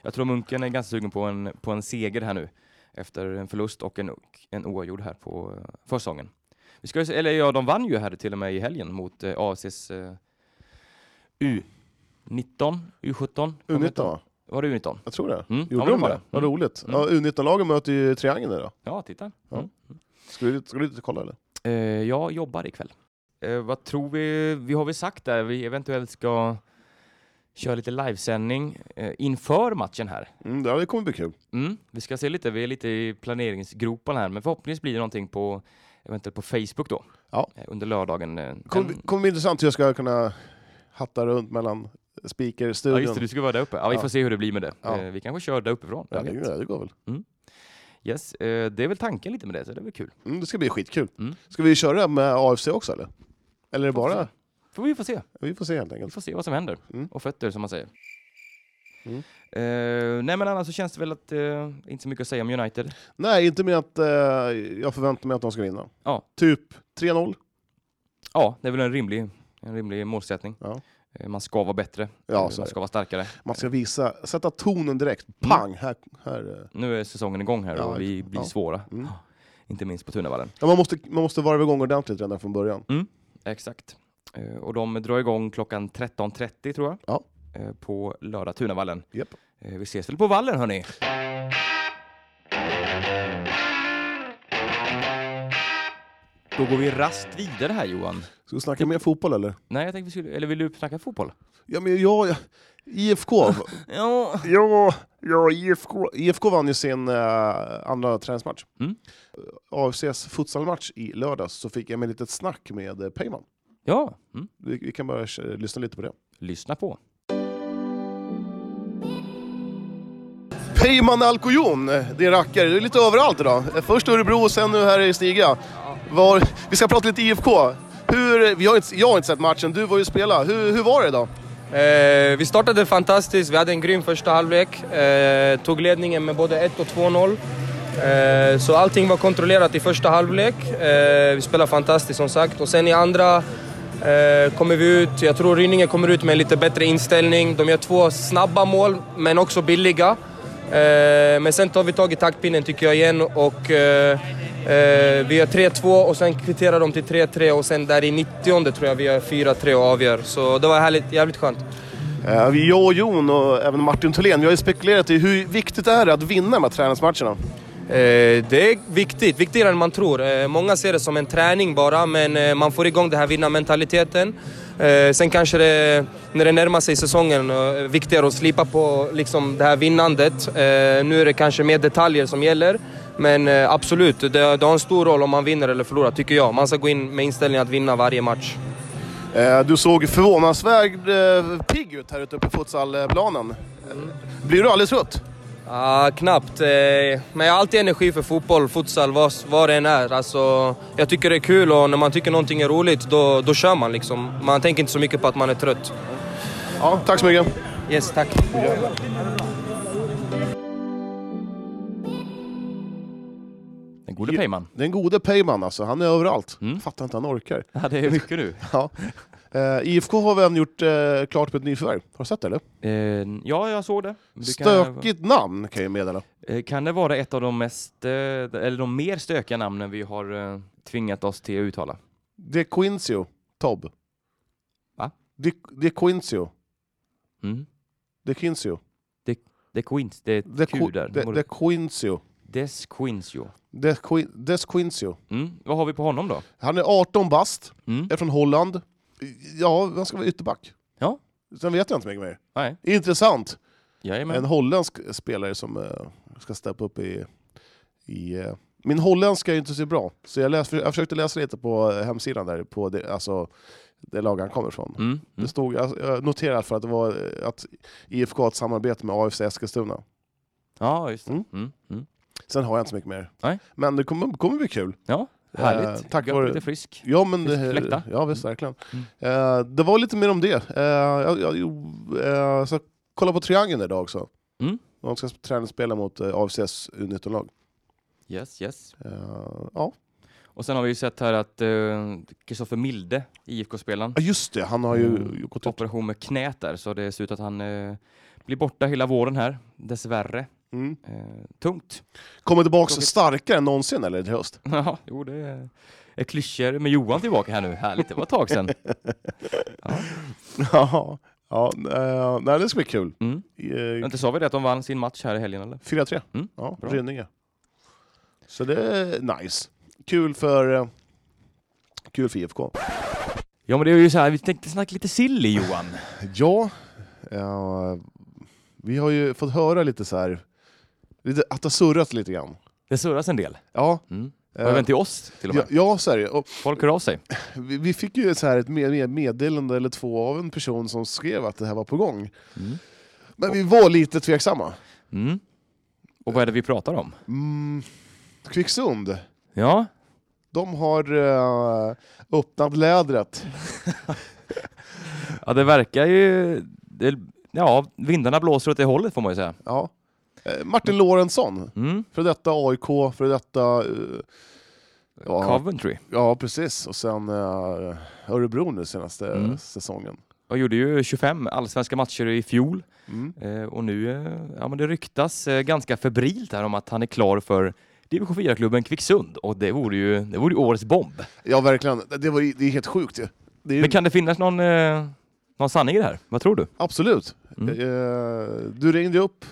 Speaker 1: Jag tror Munken är ganska sugen på en, på en seger här nu efter en förlust och en, en oavgjord här på eh, försäsongen. Vi ska, ju se- eller ja, de vann ju här till och med i helgen mot eh, AFCs eh, U19, U17. vad
Speaker 2: U19
Speaker 1: heter det?
Speaker 2: va?
Speaker 1: Var det U19?
Speaker 2: Jag tror det.
Speaker 1: Mm,
Speaker 2: Gjorde
Speaker 1: ja, men
Speaker 2: de
Speaker 1: var
Speaker 2: det? Vad
Speaker 1: Mm.
Speaker 2: roligt.
Speaker 1: Mm.
Speaker 2: Ja, U19-lagen möter ju Triangeln idag.
Speaker 1: Ja, titta.
Speaker 2: Ja.
Speaker 1: Mm.
Speaker 2: Ska du, ska du inte kolla eller?
Speaker 1: Eh, jag jobbar ikväll. Eh, vad tror vi? Vi har väl sagt där vi eventuellt ska köra lite livesändning eh, inför matchen här.
Speaker 2: Mm, ja, det kommer bli kul.
Speaker 1: Mm, vi ska se lite. Vi är lite i planeringsgropen här, men förhoppningsvis blir det någonting på eventuellt på Facebook då
Speaker 2: Ja.
Speaker 1: eh, under lördagen. eh,
Speaker 2: Kommer,
Speaker 1: den-
Speaker 2: bli- kommer bli intressant hur jag ska kunna hatta runt mellan
Speaker 1: Ja,
Speaker 2: speakerstudion.
Speaker 1: just det, du ska vara där uppe. Ja, vi
Speaker 2: Ja.
Speaker 1: får se hur det blir med det.
Speaker 2: Ja.
Speaker 1: Eh, Vi kanske kör där uppifrån.
Speaker 2: Ja,
Speaker 1: Vem vet?
Speaker 2: det, det går väl.
Speaker 1: Yes, eh, det är väl tanken lite med det, så det är väl kul.
Speaker 2: Mm, det ska bli skitkul.
Speaker 1: Mm.
Speaker 2: Ska vi köra med AFC också eller? Eller är det
Speaker 1: Får vi
Speaker 2: bara?
Speaker 1: se. Får vi får se.
Speaker 2: Vi får se helt
Speaker 1: Vi
Speaker 2: enkelt.
Speaker 1: får se vad som händer.
Speaker 2: Mm.
Speaker 1: Och fötter som man säger.
Speaker 2: Mm.
Speaker 1: Eh, nej men annars så känns det väl att eh, inte så mycket att säga om United.
Speaker 2: Nej, inte mer att eh, jag förväntar mig att de ska vinna.
Speaker 1: Ja.
Speaker 2: Typ 3-0.
Speaker 1: Ja, det är väl en rimlig, en rimlig målsättning.
Speaker 2: Ja.
Speaker 1: Eh, man ska vara bättre.
Speaker 2: Ja,
Speaker 1: Eh,
Speaker 2: så är
Speaker 1: man
Speaker 2: det.
Speaker 1: ska vara starkare.
Speaker 2: Man ska visa, sätta tonen direkt.
Speaker 1: Mm.
Speaker 2: Pang! Här, här, eh.
Speaker 1: Nu är säsongen igång här
Speaker 2: Ja,
Speaker 1: och vi blir
Speaker 2: ja.
Speaker 1: svåra.
Speaker 2: Mm.
Speaker 1: Inte minst på Tunavallen.
Speaker 2: ja, man, måste, man måste varva igång ordentligt redan från början.
Speaker 1: Exakt. Eh, och de drar igång klockan 13.30 tror jag.
Speaker 2: Ja.
Speaker 1: Eh, på lördag Tunavallen.
Speaker 2: Japp.
Speaker 1: Eh, vi ses väl på vallen hörni. Då går vi raskt vidare här Johan.
Speaker 2: Ska vi
Speaker 1: Mm.
Speaker 2: snacka mer fotboll eller?
Speaker 1: Nej, jag tänkte vi skulle... Eller vill du snacka fotboll?
Speaker 2: Ja, men jag... jag IFK.
Speaker 1: Ja.
Speaker 2: ja, ja, IFK. IFK vann ju sin eh, andra träningsmatch. Eh,
Speaker 1: Mm.
Speaker 2: AFCs futsalmatch i lördags så fick jag med ett litet snack med eh, Peyman.
Speaker 1: Ja. Mm.
Speaker 2: Vi, vi kan bara eh, lyssna lite på det.
Speaker 1: Lyssna på.
Speaker 2: Peyman Alkojon, det är rackare. Du är lite överallt idag. Först Örebro och sen nu här i Stiga. Var, vi ska prata lite IFK. Hur, vi har inte, jag har inte sett matchen, du var ju spela. Hur, hur var det idag?
Speaker 3: Eh, vi startade fantastiskt, vi hade en grym första halvlek. Eh, tog ledningen med både 1 och 2-0. Eh, så allting var kontrollerat i första halvlek. Eh, vi spelade fantastiskt som sagt. Och sen i andra eh, kommer vi ut, jag tror Rynninge kommer ut med en lite bättre inställning. De gör två snabba mål, men också billiga. Eh, men sen tar vi tag i taktpinnen tycker jag igen och eh, eh, vi gör 3-2 och sen kvitterar de till 3-3 och sen där i 90 tror jag vi gör 4-3 och avgör. Så det var härligt, jävligt skönt.
Speaker 2: Eh, vi- Jag och Jon och även Martin Thulén, vi har ju spekulerat i hur viktigt det är att vinna de här träningsmatcherna.
Speaker 3: Eh, det är viktigt, viktigare än man tror. Eh, många ser det som en träning bara, men eh, man får igång den här vinnarmentaliteten. Eh, sen kanske det, när det närmar sig säsongen, eh, är viktigare att slipa på liksom, det här vinnandet. Eh, nu är det kanske mer detaljer som gäller, men eh, absolut, det, det har en stor roll om man vinner eller förlorar, tycker jag. Man ska gå in med inställningen att vinna varje match.
Speaker 2: Eh, Du såg förvånansvärt eh, pigg ut här ute på futsalplanen. Eh, Blir du aldrig trött?
Speaker 3: Ja, knappt. eh, Men jag har alltid energi för fotboll, futsal, vad, vad det än är. Alltså, jag tycker det är kul och när man tycker någonting är roligt, då, då kör man liksom. Man tänker inte så mycket på att man är trött.
Speaker 2: Ja, tack så mycket.
Speaker 3: Yes, tack.
Speaker 1: Den gode
Speaker 2: Ja.
Speaker 1: Peyman.
Speaker 2: Den gode Peyman alltså, han är överallt.
Speaker 1: Mm.
Speaker 2: Fattar inte han orkar.
Speaker 1: Ja, det är mycket nu.
Speaker 2: Ja. Eh, IFK har väl även gjort eh, klart med ett nyförvärv. Har du sett det eller?
Speaker 1: Eh, ja, jag såg det. Du kan-
Speaker 2: Stökigt namn kan jag ju meddela.
Speaker 1: Eh, Kan det vara ett av de mest, eh, eller de mer stökiga namnen vi har eh, tvingat oss till att uttala?
Speaker 2: De Quincio, Tobb.
Speaker 1: Va?
Speaker 2: De, de Quincio,
Speaker 1: Mm.
Speaker 2: De Quincio.
Speaker 1: The Queens, det är
Speaker 2: De,
Speaker 1: ett Q där.
Speaker 2: de, de Quincio.
Speaker 1: Des Quincio.
Speaker 2: De Qui- Des Quincio.
Speaker 1: Mm. Vad har vi på honom då?
Speaker 2: Han är 18 bast,
Speaker 1: Mm.
Speaker 2: är från Holland. Ja, han ska vara ytterback.
Speaker 1: Ja.
Speaker 2: Sen vet jag inte mycket mer.
Speaker 1: Nej,
Speaker 2: Intressant. En
Speaker 1: jajamän.
Speaker 2: holländsk spelare som eh, ska steppa upp i... i eh, min holländska är ju inte så bra, så jag, läs, jag försökte läsa lite på eh, hemsidan där, på det, alltså, det lag han kommer ifrån.
Speaker 1: Mm.
Speaker 2: Det
Speaker 1: Mm.
Speaker 2: stod, jag jag noterade för att det var eh, att IFK har ett samarbete med AFC Eskilstuna.
Speaker 1: Ja, just det.
Speaker 2: Mm.
Speaker 1: Mm. Mm.
Speaker 2: Sen har jag inte så mycket mer.
Speaker 1: Nej.
Speaker 2: Men det kommer, kommer bli kul.
Speaker 1: Ja,
Speaker 2: Eh,
Speaker 1: härligt.
Speaker 2: tack
Speaker 1: Gött,
Speaker 2: vare-
Speaker 1: Lite frisk.
Speaker 2: Ja, men
Speaker 1: Visst,
Speaker 2: det,
Speaker 1: fläkta.
Speaker 2: ja visst, verkligen.
Speaker 1: Mm.
Speaker 2: Eh, det var lite mer om det. Eh, jag, jag, jo, eh, så kolla på Triangeln idag också.
Speaker 1: Mm.
Speaker 2: De ska träningsspela mot eh, AFCs U19-lag.
Speaker 1: Yes, yes.
Speaker 2: Eh, ja.
Speaker 1: Och sen har vi ju sett här att Kristoffer Milde, IFK-spelaren,
Speaker 2: Ja, just det, han har ju
Speaker 1: Mm.
Speaker 2: gått upp.
Speaker 1: operation med knät där så det ser ut att han eh, blir borta hela våren här, dessvärre.
Speaker 2: Mm.
Speaker 1: Eh, tungt.
Speaker 2: Kommer tillbaka
Speaker 1: Tråkigt.
Speaker 2: starkare än någonsin eller till höst?
Speaker 1: Ja, jo det är, är klyschor med Johan tillbaka här nu. Härligt, det var ett tag sedan.
Speaker 2: ja, ja, eh, nej, det ska bli kul.
Speaker 1: Mm.
Speaker 2: Eh,
Speaker 1: Inte sa vi det att de vann sin match här i helgen eller?
Speaker 2: 4-3.
Speaker 1: Mm,
Speaker 2: Ja,
Speaker 1: bra.
Speaker 2: Rynninge. Så det är nice. Kul för, eh, kul för IFK.
Speaker 1: Ja men det är ju så här, vi tänkte snacka lite sill i Johan.
Speaker 2: Ja, eh, vi har ju fått höra lite så här, lite, att det har surrat lite grann.
Speaker 1: Det surras en del.
Speaker 2: Ja,
Speaker 1: Mm.
Speaker 2: eh,
Speaker 1: Och även till oss till och
Speaker 2: ja,
Speaker 1: med.
Speaker 2: ja, så är det. Och
Speaker 1: Folk hör av sig.
Speaker 2: vi, vi fick ju så här ett med- med- meddelande eller två av en person som skrev att det här var på gång.
Speaker 1: Mm.
Speaker 2: Men vi var lite tveksamma.
Speaker 1: Mm. Och vad är det vi pratar om?
Speaker 2: Mm, Kvicksund,
Speaker 1: Ja,
Speaker 2: de har eh, öppnat lädret.
Speaker 1: ja det verkar ju... Det, ja, vindarna blåser åt det hållet får man ju säga.
Speaker 2: Ja. Eh, Martin Lorentzon,
Speaker 1: Mm.
Speaker 2: för detta AIK, för detta... eh, ja,
Speaker 1: Coventry.
Speaker 2: ja, precis. Och sen eh, Örebro nu senaste
Speaker 1: Mm.
Speaker 2: säsongen.
Speaker 1: Och gjorde ju 25 allsvenska matcher i fjol.
Speaker 2: Mm.
Speaker 1: Eh, och nu, eh, ja men det ryktas eh, ganska febrilt här om att han är klar för division 4-klubben Kvicksund. Och det vore ju, det vore ju årets bomb.
Speaker 2: Ja, verkligen. Det, var, ju- det är helt sjukt ju. Det är ju
Speaker 1: Men kan det finnas någon, eh, någon sanning i det här? Vad tror du?
Speaker 2: Absolut.
Speaker 1: Mm.
Speaker 2: Eh, du ringde upp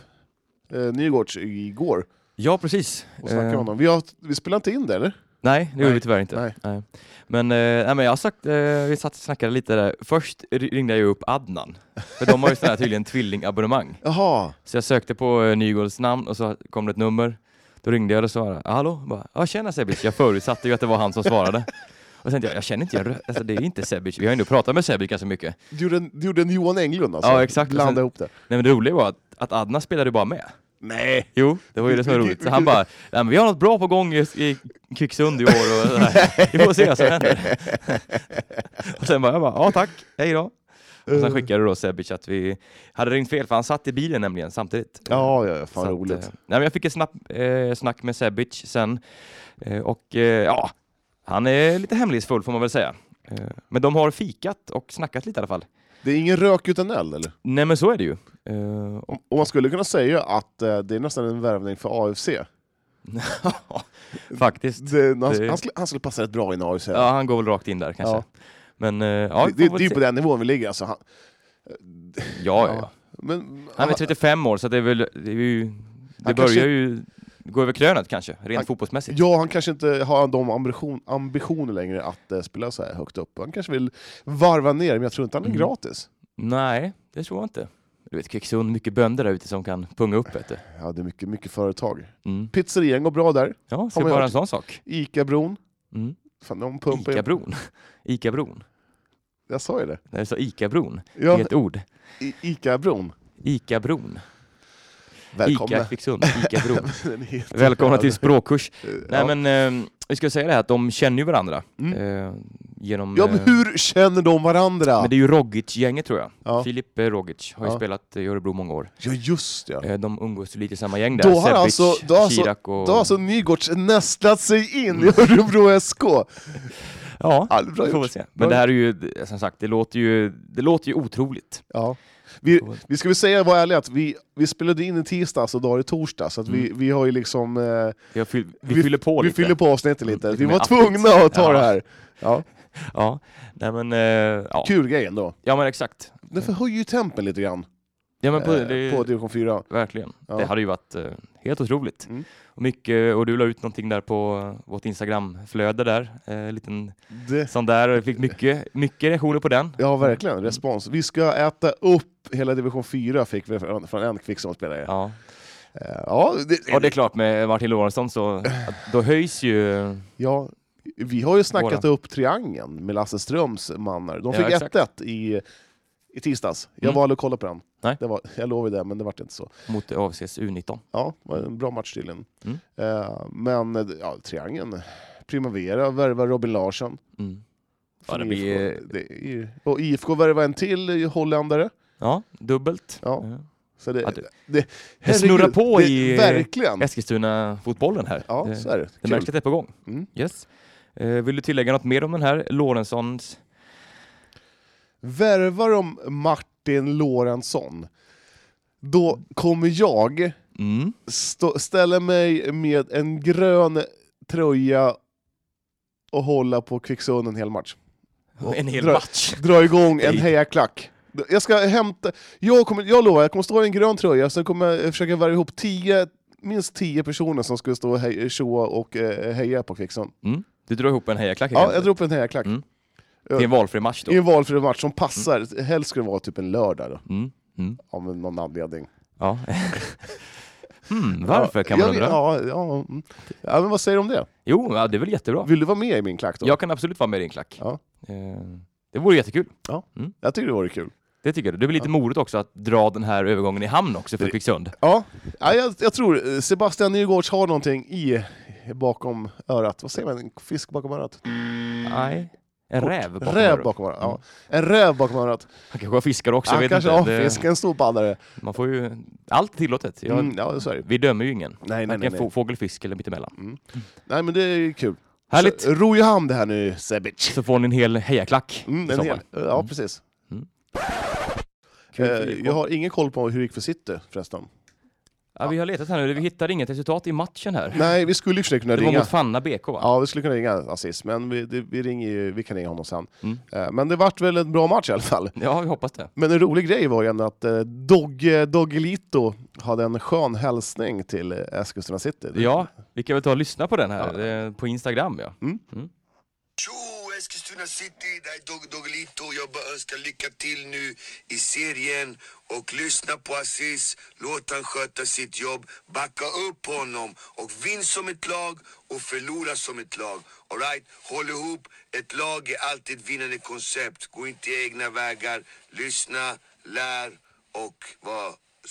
Speaker 2: eh, Nygårds igår
Speaker 1: Ja, precis.
Speaker 2: och snackade med
Speaker 1: Eh,
Speaker 2: honom. Vi, har, vi spelade inte in det, eller?
Speaker 1: Nej, det gjorde
Speaker 2: Nej,
Speaker 1: vi tyvärr inte.
Speaker 2: nej.
Speaker 1: Men, eh, nej, men jag sagt, eh, vi satt och snackade lite där. Först ri- ringde jag ju upp Adnan, för de har ju sådana här tydligen tvillingabonnemang.
Speaker 2: Jaha.
Speaker 1: Så jag sökte på eh, Nygårds namn och så kom det ett nummer. Då ringde jag och sa hallå? Jag Bara, ja, tjena Sebic. Jag förutsatte ju att det var han som svarade. Och sen tänkte jag, jag känner inte, jag, rö- alltså, det är ju inte Sebic. Vi har ju ändå pratat med Sebic ganska mycket.
Speaker 2: Du gjorde, en- du gjorde en Johan Englund alltså?
Speaker 1: Ja, exakt.
Speaker 2: Blanda
Speaker 1: Och sen-
Speaker 2: ihop det.
Speaker 1: Nej men det roliga var att, att Adnan spelade ju bara med.
Speaker 2: Nej!
Speaker 1: Jo, det var ju det som var roligt. Så han bara, nej men vi har något bra på gång i, i Kvicksund i år och sådär. Vi får se vad som händer. Och sen bara, jag bara, ja tack, hej då. Och
Speaker 2: Eh.
Speaker 1: sen skickade då Sebic att vi hade ringt fel för han satt i bilen nämligen samtidigt.
Speaker 2: Ja, ja, ja fan
Speaker 1: Så att,
Speaker 2: roligt.
Speaker 1: eh, nej, men jag fick ett snabb, eh, snack med Sebic sen eh, och eh, ja, han är lite hemlighetsfull får man väl säga. Eh, men de har fikat och snackat lite i alla fall.
Speaker 2: Det är ingen rök utan eld, eller?
Speaker 1: Nej men så är det ju. Eh, och,
Speaker 2: Om- Och man skulle kunna säga att eh, det är nästan en värvning för AFC. Eh,
Speaker 1: faktiskt.
Speaker 2: Det, han,
Speaker 1: Det-
Speaker 2: han, skulle, han skulle passa rätt bra i en AFC.
Speaker 1: Ja, han går väl rakt in där kanske.
Speaker 2: Ja.
Speaker 1: Men eh, ja, vi
Speaker 2: det,
Speaker 1: får
Speaker 2: det,
Speaker 1: väl
Speaker 2: det är ju
Speaker 1: se.
Speaker 2: på den nivån vi ligger. Alltså. Han,
Speaker 1: Ja, ja, ja.
Speaker 2: Ja. men,
Speaker 1: Han är 35 år så det är väl, det, är ju, det börjar
Speaker 2: Han kanske-
Speaker 1: ju gå över krönet kanske, rent
Speaker 2: Han-
Speaker 1: fotbollsmässigt.
Speaker 2: Ja, han kanske inte har de ambition, ambitioner längre att eh, spela så här högt upp. Han kanske vill varva ner, men jag tror inte han är
Speaker 1: Mm.
Speaker 2: gratis.
Speaker 1: Nej, det tror jag inte. Du vet Kvicksund, mycket bönder där ute som kan punga upp vet du.
Speaker 2: Ja, det är mycket, mycket företag.
Speaker 1: Mm.
Speaker 2: Pizzerian går bra där.
Speaker 1: Ja, se
Speaker 2: man
Speaker 1: bara
Speaker 2: hört.
Speaker 1: en sån sak.
Speaker 2: Ica-bron.
Speaker 1: Mm.
Speaker 2: Fan, de pumpar ju-
Speaker 1: Ica-bron. Ica-bron.
Speaker 2: Jag sa ju det.
Speaker 1: Nej, Jag sa Ica-bron. Det är
Speaker 2: Ja,
Speaker 1: ett ord.
Speaker 2: I- Ica-bron.
Speaker 1: Ica-bron. Ica
Speaker 2: Välkomna.
Speaker 1: Kvicksund. Ica-bron.
Speaker 2: Den heter-
Speaker 1: Välkomna till språkkurs. Nej
Speaker 2: Ja.
Speaker 1: men, eh, vi ska säga det här att de känner ju varandra.
Speaker 2: Mm.
Speaker 1: Eh, genom...
Speaker 2: Ja, men
Speaker 1: eh,
Speaker 2: hur känner de varandra?
Speaker 1: Men det är ju Rogic-gänget tror jag.
Speaker 2: Ja.
Speaker 1: Filip eh, Rogic har ju
Speaker 2: Ja.
Speaker 1: spelat i Örebro många år.
Speaker 2: Ja, just det.
Speaker 1: Eh, De umgås ju lite i samma gäng där.
Speaker 2: Då har
Speaker 1: Sebic,
Speaker 2: alltså- då har alltså-
Speaker 1: Chirac och...
Speaker 2: Då har alltså Nygårds nästlat sig in i Örebro SK.
Speaker 1: Ja,
Speaker 2: Ja, det är bra
Speaker 1: vi får
Speaker 2: gjort.
Speaker 1: väl se. Men det här är ju, eh, som sagt, det låter ju, det låter ju otroligt.
Speaker 2: Ja. Vi, vi ska väl säga, var ärliga, att vi, vi spelade in i tisdags och dag i torsdag, så att vi, vi har ju liksom... Eh,
Speaker 1: Vi, har fyll, vi, fyller Mm. på
Speaker 2: vi
Speaker 1: lite.
Speaker 2: fyller på avsnittet lite.
Speaker 1: Mm,
Speaker 2: Vi
Speaker 1: lite
Speaker 2: var
Speaker 1: mer
Speaker 2: tvungna att ta
Speaker 1: Ja.
Speaker 2: det här. Ja.
Speaker 1: Ja, nej men, eh, ja.
Speaker 2: Kul grej ändå.
Speaker 1: ja men exakt.
Speaker 2: Det förhöjer ju tempen lite grann
Speaker 1: Ja men på,
Speaker 2: eh,
Speaker 1: det,
Speaker 2: på division 4.
Speaker 1: verkligen.
Speaker 2: Ja.
Speaker 1: Det hade ju varit eh, helt otroligt.
Speaker 2: Mm.
Speaker 1: Och mycket, och du la ut någonting där på eh, vårt Instagram-flöde där, eh, en liten
Speaker 2: Det,
Speaker 1: sån där, och jag fick mycket, mycket reaktioner på den.
Speaker 2: ja, verkligen. Respons. Vi ska äta upp hela division 4, fick vi från från en Kvicksundspelare. Ja.
Speaker 1: Ja.
Speaker 2: Eh, Ja,
Speaker 1: Ja, det är
Speaker 2: det,
Speaker 1: klart med Martin Lorentzon så att då höjs ju...
Speaker 2: ja, vi har ju snackat upp triangeln med Lasse Ströms mannar.
Speaker 1: Ja,
Speaker 2: De fick
Speaker 1: exakt.
Speaker 2: 1-1 i, i tisdags. Jag
Speaker 1: Mm.
Speaker 2: var aldrig och kollade på den.
Speaker 1: Nej.
Speaker 2: Det var, jag lovade det, men det vart inte så.
Speaker 1: mot AFCs U19.
Speaker 2: Ja, det var en bra match tydligen.
Speaker 1: Mm.
Speaker 2: Eh, men eh, ja, triangeln. Primavera värvar Robin Larsson.
Speaker 1: Mm. Ja,
Speaker 2: från
Speaker 1: det blir,
Speaker 2: IFK. Det är, och IFK värvar en till holländare.
Speaker 1: ja, dubbelt.
Speaker 2: Ja.
Speaker 1: Ja.
Speaker 2: Så det,
Speaker 1: Ja, du.
Speaker 2: det,
Speaker 1: Det snurrar på
Speaker 2: det,
Speaker 1: i- eh,
Speaker 2: Verkligen!
Speaker 1: Eskilstuna-fotbollen här.
Speaker 2: Ja,
Speaker 1: det,
Speaker 2: så är det.
Speaker 1: det
Speaker 2: Kul.
Speaker 1: märks att det är på gång.
Speaker 2: Mm.
Speaker 1: Yes. Eh, vill du tillägga något mer om den här Lorentzons?
Speaker 2: Värvar de Martin Lorentzon? Då kommer jag
Speaker 1: Mm.
Speaker 2: stå, ställa mig med en grön tröja och hålla på Kvicksund en hel match. Och
Speaker 1: En hel
Speaker 2: dra-
Speaker 1: match.
Speaker 2: Dra igång en
Speaker 1: Nej.
Speaker 2: hejaklack. Jag ska hämta... Jag, kommer, jag lovar, jag kommer stå i en grön tröja, sen kommer jag försöka värva ihop tio, minst tio personer som skulle stå och hej- tjoa och eh, heja på Kvicksund.
Speaker 1: Mm. Du drar ihop en hejaklack helt
Speaker 2: Ja, jag
Speaker 1: enkelt.
Speaker 2: drar upp en hejaklack.
Speaker 1: Mm. till en valfri match då.
Speaker 2: I en valfri match som passar. Helst skulle det vara typ en lördag då,
Speaker 1: Mm. Mm.
Speaker 2: av någon anledning.
Speaker 1: Ja. hmm, varför kan man
Speaker 2: ja,
Speaker 1: undra?
Speaker 2: Ja, ja, mm. ja, men vad säger du om det?
Speaker 1: Jo, ja, det är väl jättebra.
Speaker 2: Vill du vara med i min klack då?
Speaker 1: Jag kan absolut vara med i din klack.
Speaker 2: Ja.
Speaker 1: Eh, Det vore jättekul.
Speaker 2: Jag tycker det vore kul.
Speaker 1: Det tycker jag. Det blir lite modigt också att dra den här övergången i hamn också för
Speaker 2: Det-
Speaker 1: Kvicksund.
Speaker 2: Ja, ja jag, jag tror eh, Sebastian Nygårds har någonting i bakom örat. Vad säger man? En fisk bakom örat? Mm.
Speaker 1: Nej. En räv bakom
Speaker 2: räv
Speaker 1: öronen.
Speaker 2: bakom örat. Ja. En räv bakom örat.
Speaker 1: Han kanske har fiskar också, jag
Speaker 2: Han
Speaker 1: vet
Speaker 2: kanske
Speaker 1: inte.
Speaker 2: har
Speaker 1: Det-
Speaker 2: fisk, en stor baddare.
Speaker 1: Man får ju... Allt är tillåtet. Jag...
Speaker 2: Mm, ja, så är det.
Speaker 1: Vi dömer ju ingen.
Speaker 2: Nej, nej, nej.
Speaker 1: Varken
Speaker 2: Nej.
Speaker 1: få- fågel, fisk eller mittemellan.
Speaker 2: nej, men det är kul.
Speaker 1: Härligt!
Speaker 2: Så, eh, Ro i hamn det här nu, Sebic.
Speaker 1: Så får ni en hel hejaklack
Speaker 2: Mm,
Speaker 1: i
Speaker 2: en
Speaker 1: sommar.
Speaker 2: hel, ja, precis.
Speaker 1: Mm.
Speaker 2: Eh,
Speaker 1: för IFK.
Speaker 2: jag har ingen koll på hur det gick för City förresten.
Speaker 1: Ja, vi har letat här nu, vi hittar inget resultat i matchen här.
Speaker 2: Nej, vi skulle ju försöka kunna
Speaker 1: det var
Speaker 2: ringa.
Speaker 1: mot Fanna BK va?
Speaker 2: Ja, vi skulle kunna ringa Aziz, men vi, det, vi, ringer ju, vi kan ringa honom sen.
Speaker 1: Mm.
Speaker 2: Eh, Men det vart väl en bra match i alla fall.
Speaker 1: Ja, vi hoppas det.
Speaker 2: Men en rolig grej var ju ändå att eh, Dogge Doggelito hade en skön hälsning till eh, Eskilstuna City.
Speaker 1: Ja, vi kan väl ta och lyssna på den här eh, på Instagram ja.
Speaker 2: Mm.
Speaker 4: Tjo Eskilstuna City, det här är Dogge Doggelito. Jag bara önskar lycka till nu i serien och lyssna på Aziz. Låt han sköta sitt jobb. Backa upp honom och vinn som ett lag och förlora som ett lag. All right? Håll ihop. Ett lag är alltid ett vinnande koncept. Gå inte egna vägar. Lyssna, lär och var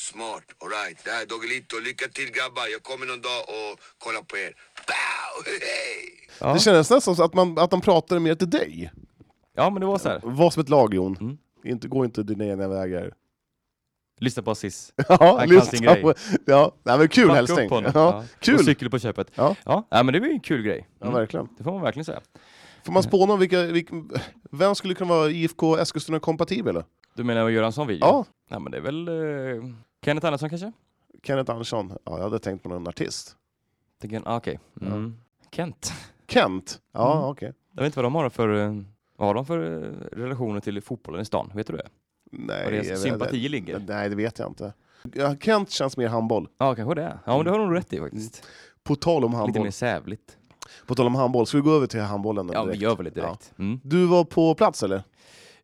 Speaker 4: smart. All right? Det här är Doggelito. Lycka till grabbar. Jag kommer någon dag och kollar på er. Pow! Hej!
Speaker 1: Ja.
Speaker 2: Det kändes nästan som att, man, att de pratade mer till dig.
Speaker 1: Ja, men det var så här.
Speaker 2: Var som ett lag Jon.
Speaker 1: Mm.
Speaker 2: Inte, gå inte dina egna vägar.
Speaker 1: Lyssna på Aziz.
Speaker 2: Ja,
Speaker 1: kan sin
Speaker 2: lyssna
Speaker 1: grej.
Speaker 2: på... Ja, nej, men kul
Speaker 1: Backa
Speaker 2: hälsning.
Speaker 1: upp
Speaker 2: Ja,
Speaker 1: honom. Ja. Och
Speaker 2: Kul!
Speaker 1: cykel på köpet.
Speaker 2: Ja.
Speaker 1: Ja. Ja. men det var ju en kul grej.
Speaker 2: Ja,
Speaker 1: Mm.
Speaker 2: verkligen.
Speaker 1: Det får man verkligen säga.
Speaker 2: Får man spåna om vilka, vilka, vem skulle kunna vara IFK Eskilstuna-kompatibel? då?
Speaker 1: Du menar vad Göransson vill?
Speaker 2: Ja,
Speaker 1: ja men det är väl eh, Kenneth Andersson kanske?
Speaker 2: Kenneth Andersson. Ja, jag hade tänkt på någon artist.
Speaker 1: Tänker en- ah, Okej. Mm. Kent.
Speaker 2: Kent? Ja,
Speaker 1: Mm.
Speaker 2: okej.
Speaker 1: Jag vet inte vad de har för, eh, vad har de för eh, relationer till fotbollen i stan? Vet du det? Var
Speaker 2: Nej, jag
Speaker 1: deras
Speaker 2: vet-
Speaker 1: sympati ligger?
Speaker 2: Nej, det vet jag inte. Ja, Kent känns mer handboll.
Speaker 1: Ja, kanske det. Ja, men det har de rätt i faktiskt.
Speaker 2: På tal om
Speaker 1: Lite
Speaker 2: handboll,
Speaker 1: mer sävligt.
Speaker 2: på tal om handboll, ska vi gå över till handbollen?
Speaker 1: Ja, vi
Speaker 2: direkt?
Speaker 1: gör väl det direkt. Mm.
Speaker 2: Du var på plats eller?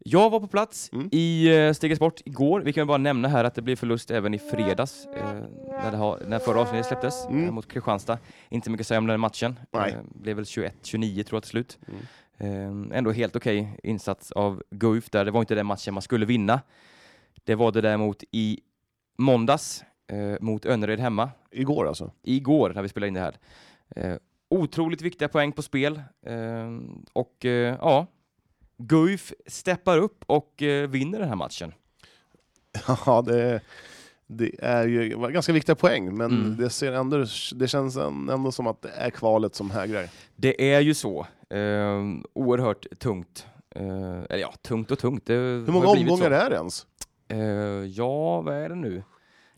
Speaker 1: Jag var på plats
Speaker 2: Mm.
Speaker 1: i eh, Steget Sport igår. Vi kan bara nämna här att det blir förlust även i fredags eh, när, det har, när förra avsnittet släpptes
Speaker 2: Mm.
Speaker 1: eh, mot Kristianstad. Inte mycket att säga om den matchen. Eh,
Speaker 2: Nej.
Speaker 1: Det blev väl 21-29 tror jag till slut.
Speaker 2: Mm.
Speaker 1: Eh, ändå helt okej insats av Guif där. Det var inte den matchen man skulle vinna. Det var det däremot i måndags eh, mot Önnered hemma
Speaker 2: Igår alltså?
Speaker 1: igår när vi spelade in det här. Eh, otroligt viktiga poäng på spel eh, och eh, ja, Guif steppar upp och eh, vinner den här matchen.
Speaker 2: Ja, det, det är ju var ganska viktiga poäng, men
Speaker 1: Mm.
Speaker 2: det, ser ändå, det känns en- ändå som att det är kvalet som hägrar.
Speaker 1: Det är ju så eh, oerhört tungt. Eh, eller ja, tungt och tungt. Det
Speaker 2: Hur många omgångar är det ens?
Speaker 1: det? Eh, ja, vad är det nu?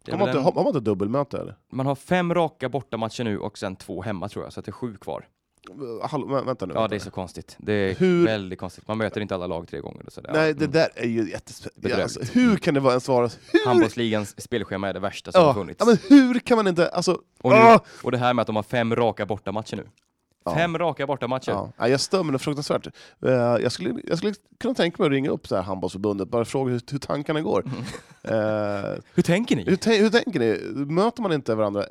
Speaker 1: Det är
Speaker 2: Har man,
Speaker 1: väl
Speaker 2: inte,
Speaker 1: en-
Speaker 2: har har man inte dubbelmöte? Eller?
Speaker 1: man har fem raka bortamatcher nu och sen två hemma tror jag, så att det är sju kvar.
Speaker 2: Hallå, vä- vänta nu.
Speaker 1: Ja,
Speaker 2: vänta
Speaker 1: det är
Speaker 2: nu.
Speaker 1: så konstigt. Det är
Speaker 2: Hur-
Speaker 1: väldigt konstigt. Man möter inte alla lag tre gånger. Och sådär.
Speaker 2: Nej, det
Speaker 1: Mm.
Speaker 2: där är ju jättespännande.
Speaker 1: Bedrövligt.
Speaker 2: Alltså, hur kan det vara ens vara... Hur,
Speaker 1: Handbollsligans spelschema är det värsta som har
Speaker 2: ja,
Speaker 1: funnits.
Speaker 2: ja, men hur kan man inte... Alltså,
Speaker 1: Och, nu,
Speaker 2: ah!
Speaker 1: och det här med att de har fem raka bortamatcher nu.
Speaker 2: Ja.
Speaker 1: Fem raka bortamatcher.
Speaker 2: Ja. Ja, jag stör mig något fruktansvärt. Eh, jag, skulle, jag skulle kunna tänka mig att ringa upp så här handbollsförbundet bara fråga hur, hur tankarna går.
Speaker 1: Mm.
Speaker 2: Eh,
Speaker 1: Hur tänker ni?
Speaker 2: hur, tän- hur tänker ni? Möter man inte varandra? Eh,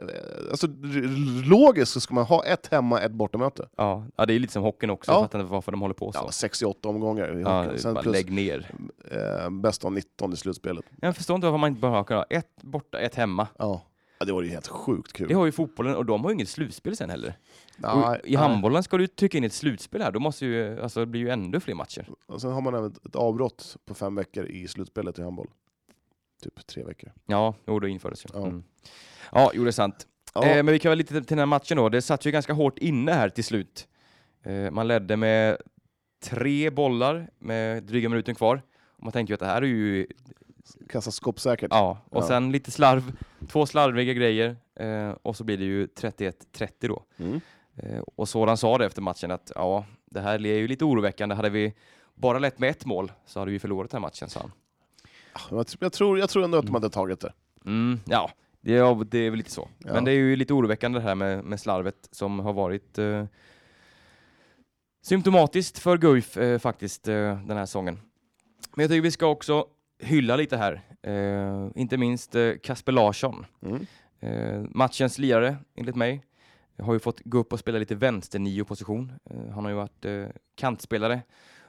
Speaker 2: Alltså, r- logiskt så ska man ha ett hemma, ett bortamöte.
Speaker 1: Ja. ja, det är lite som hockeyn också.
Speaker 2: Ja.
Speaker 1: Jag fattar inte varför de håller på så.
Speaker 2: Ja, 68 omgångar i
Speaker 1: Ja,
Speaker 2: hockeyn.
Speaker 1: det är
Speaker 2: Sen
Speaker 1: bara
Speaker 2: plus
Speaker 1: lägg ner.
Speaker 2: eh, bästa av 19 i slutspelet.
Speaker 1: Jag förstår inte varför man inte bara kan ha ett borta, ett hemma.
Speaker 2: Ja. Ja, det var ju helt sjukt kul.
Speaker 1: Det har ju fotbollen och de har ju inget slutspel sen heller.
Speaker 2: Nej,
Speaker 1: och I handbollen ska du ju trycka in ett slutspel här, då måste ju, alltså, det blir ju ännu fler matcher.
Speaker 2: nej. Och sen har man även ett avbrott på fem veckor i slutspelet i handboll. Typ tre veckor.
Speaker 1: Ja, jo, då infördes ju.
Speaker 2: Ja.
Speaker 1: Mm. Ja, jo det är sant.
Speaker 2: Ja,
Speaker 1: Eh, men vi kan väl lite till den här matchen då. Det satt ju ganska hårt inne här till slut. Eh, man ledde med tre bollar med dryga minuten kvar. Och man tänkte ju att det här är ju
Speaker 2: Kasta skottsäkert.
Speaker 1: Ja, och
Speaker 2: Ja.
Speaker 1: sen lite slarv. Två slarviga grejer eh, och så blir det ju 31-30 då.
Speaker 2: Mm.
Speaker 1: Eh, och Soran sa det efter matchen att ja, det här är ju lite oroväckande. Hade vi bara lett med ett mål så hade vi förlorat den här matchen, sa han.
Speaker 2: Jag, jag, tror, jag tror ändå att de hade tagit det.
Speaker 1: Mm, ja, det är, det är väl lite så.
Speaker 2: Ja.
Speaker 1: Men det är ju lite oroväckande det här med, med slarvet som har varit eh, symptomatiskt för Guif eh, faktiskt eh, den här säsongen. Men jag tycker vi ska också hylla lite här, eh, inte minst eh, Kasper Larsson.
Speaker 2: Mm.
Speaker 1: Eh, matchens lirare, enligt mig, har ju fått gå upp och spela lite vänster nio-position. Eh, han har ju varit eh, kantspelare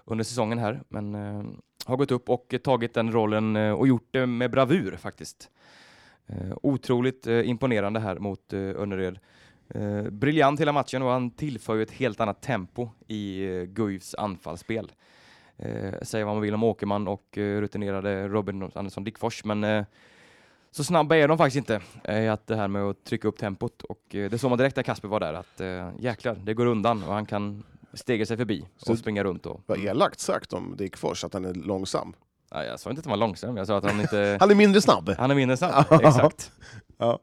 Speaker 1: under säsongen här, men eh, har gått upp och eh, tagit den rollen eh, och gjort det med bravur faktiskt. Eh, otroligt eh, imponerande här mot eh, Önnered. Eh, briljant hela matchen och han tillför ju ett helt annat tempo i eh, Guifs anfallsspel. Eh, säger vad man vill om Åkerman och eh, rutinerade Robin Andersson Dickfors, men eh, så snabba är de faktiskt inte eh, att det här med att trycka upp tempot och eh, det såg man direkt när Kasper var där att eh, jäklar, det går undan och han kan stega sig förbi
Speaker 2: Så-
Speaker 1: och springa runt och...
Speaker 2: Vad elakt sagt om Dickfors, att han är långsam.
Speaker 1: Nej, jag sa inte att han var långsam, jag sa att han inte...
Speaker 2: Han är mindre snabb.
Speaker 1: han är mindre snabb, exakt.
Speaker 2: Ja.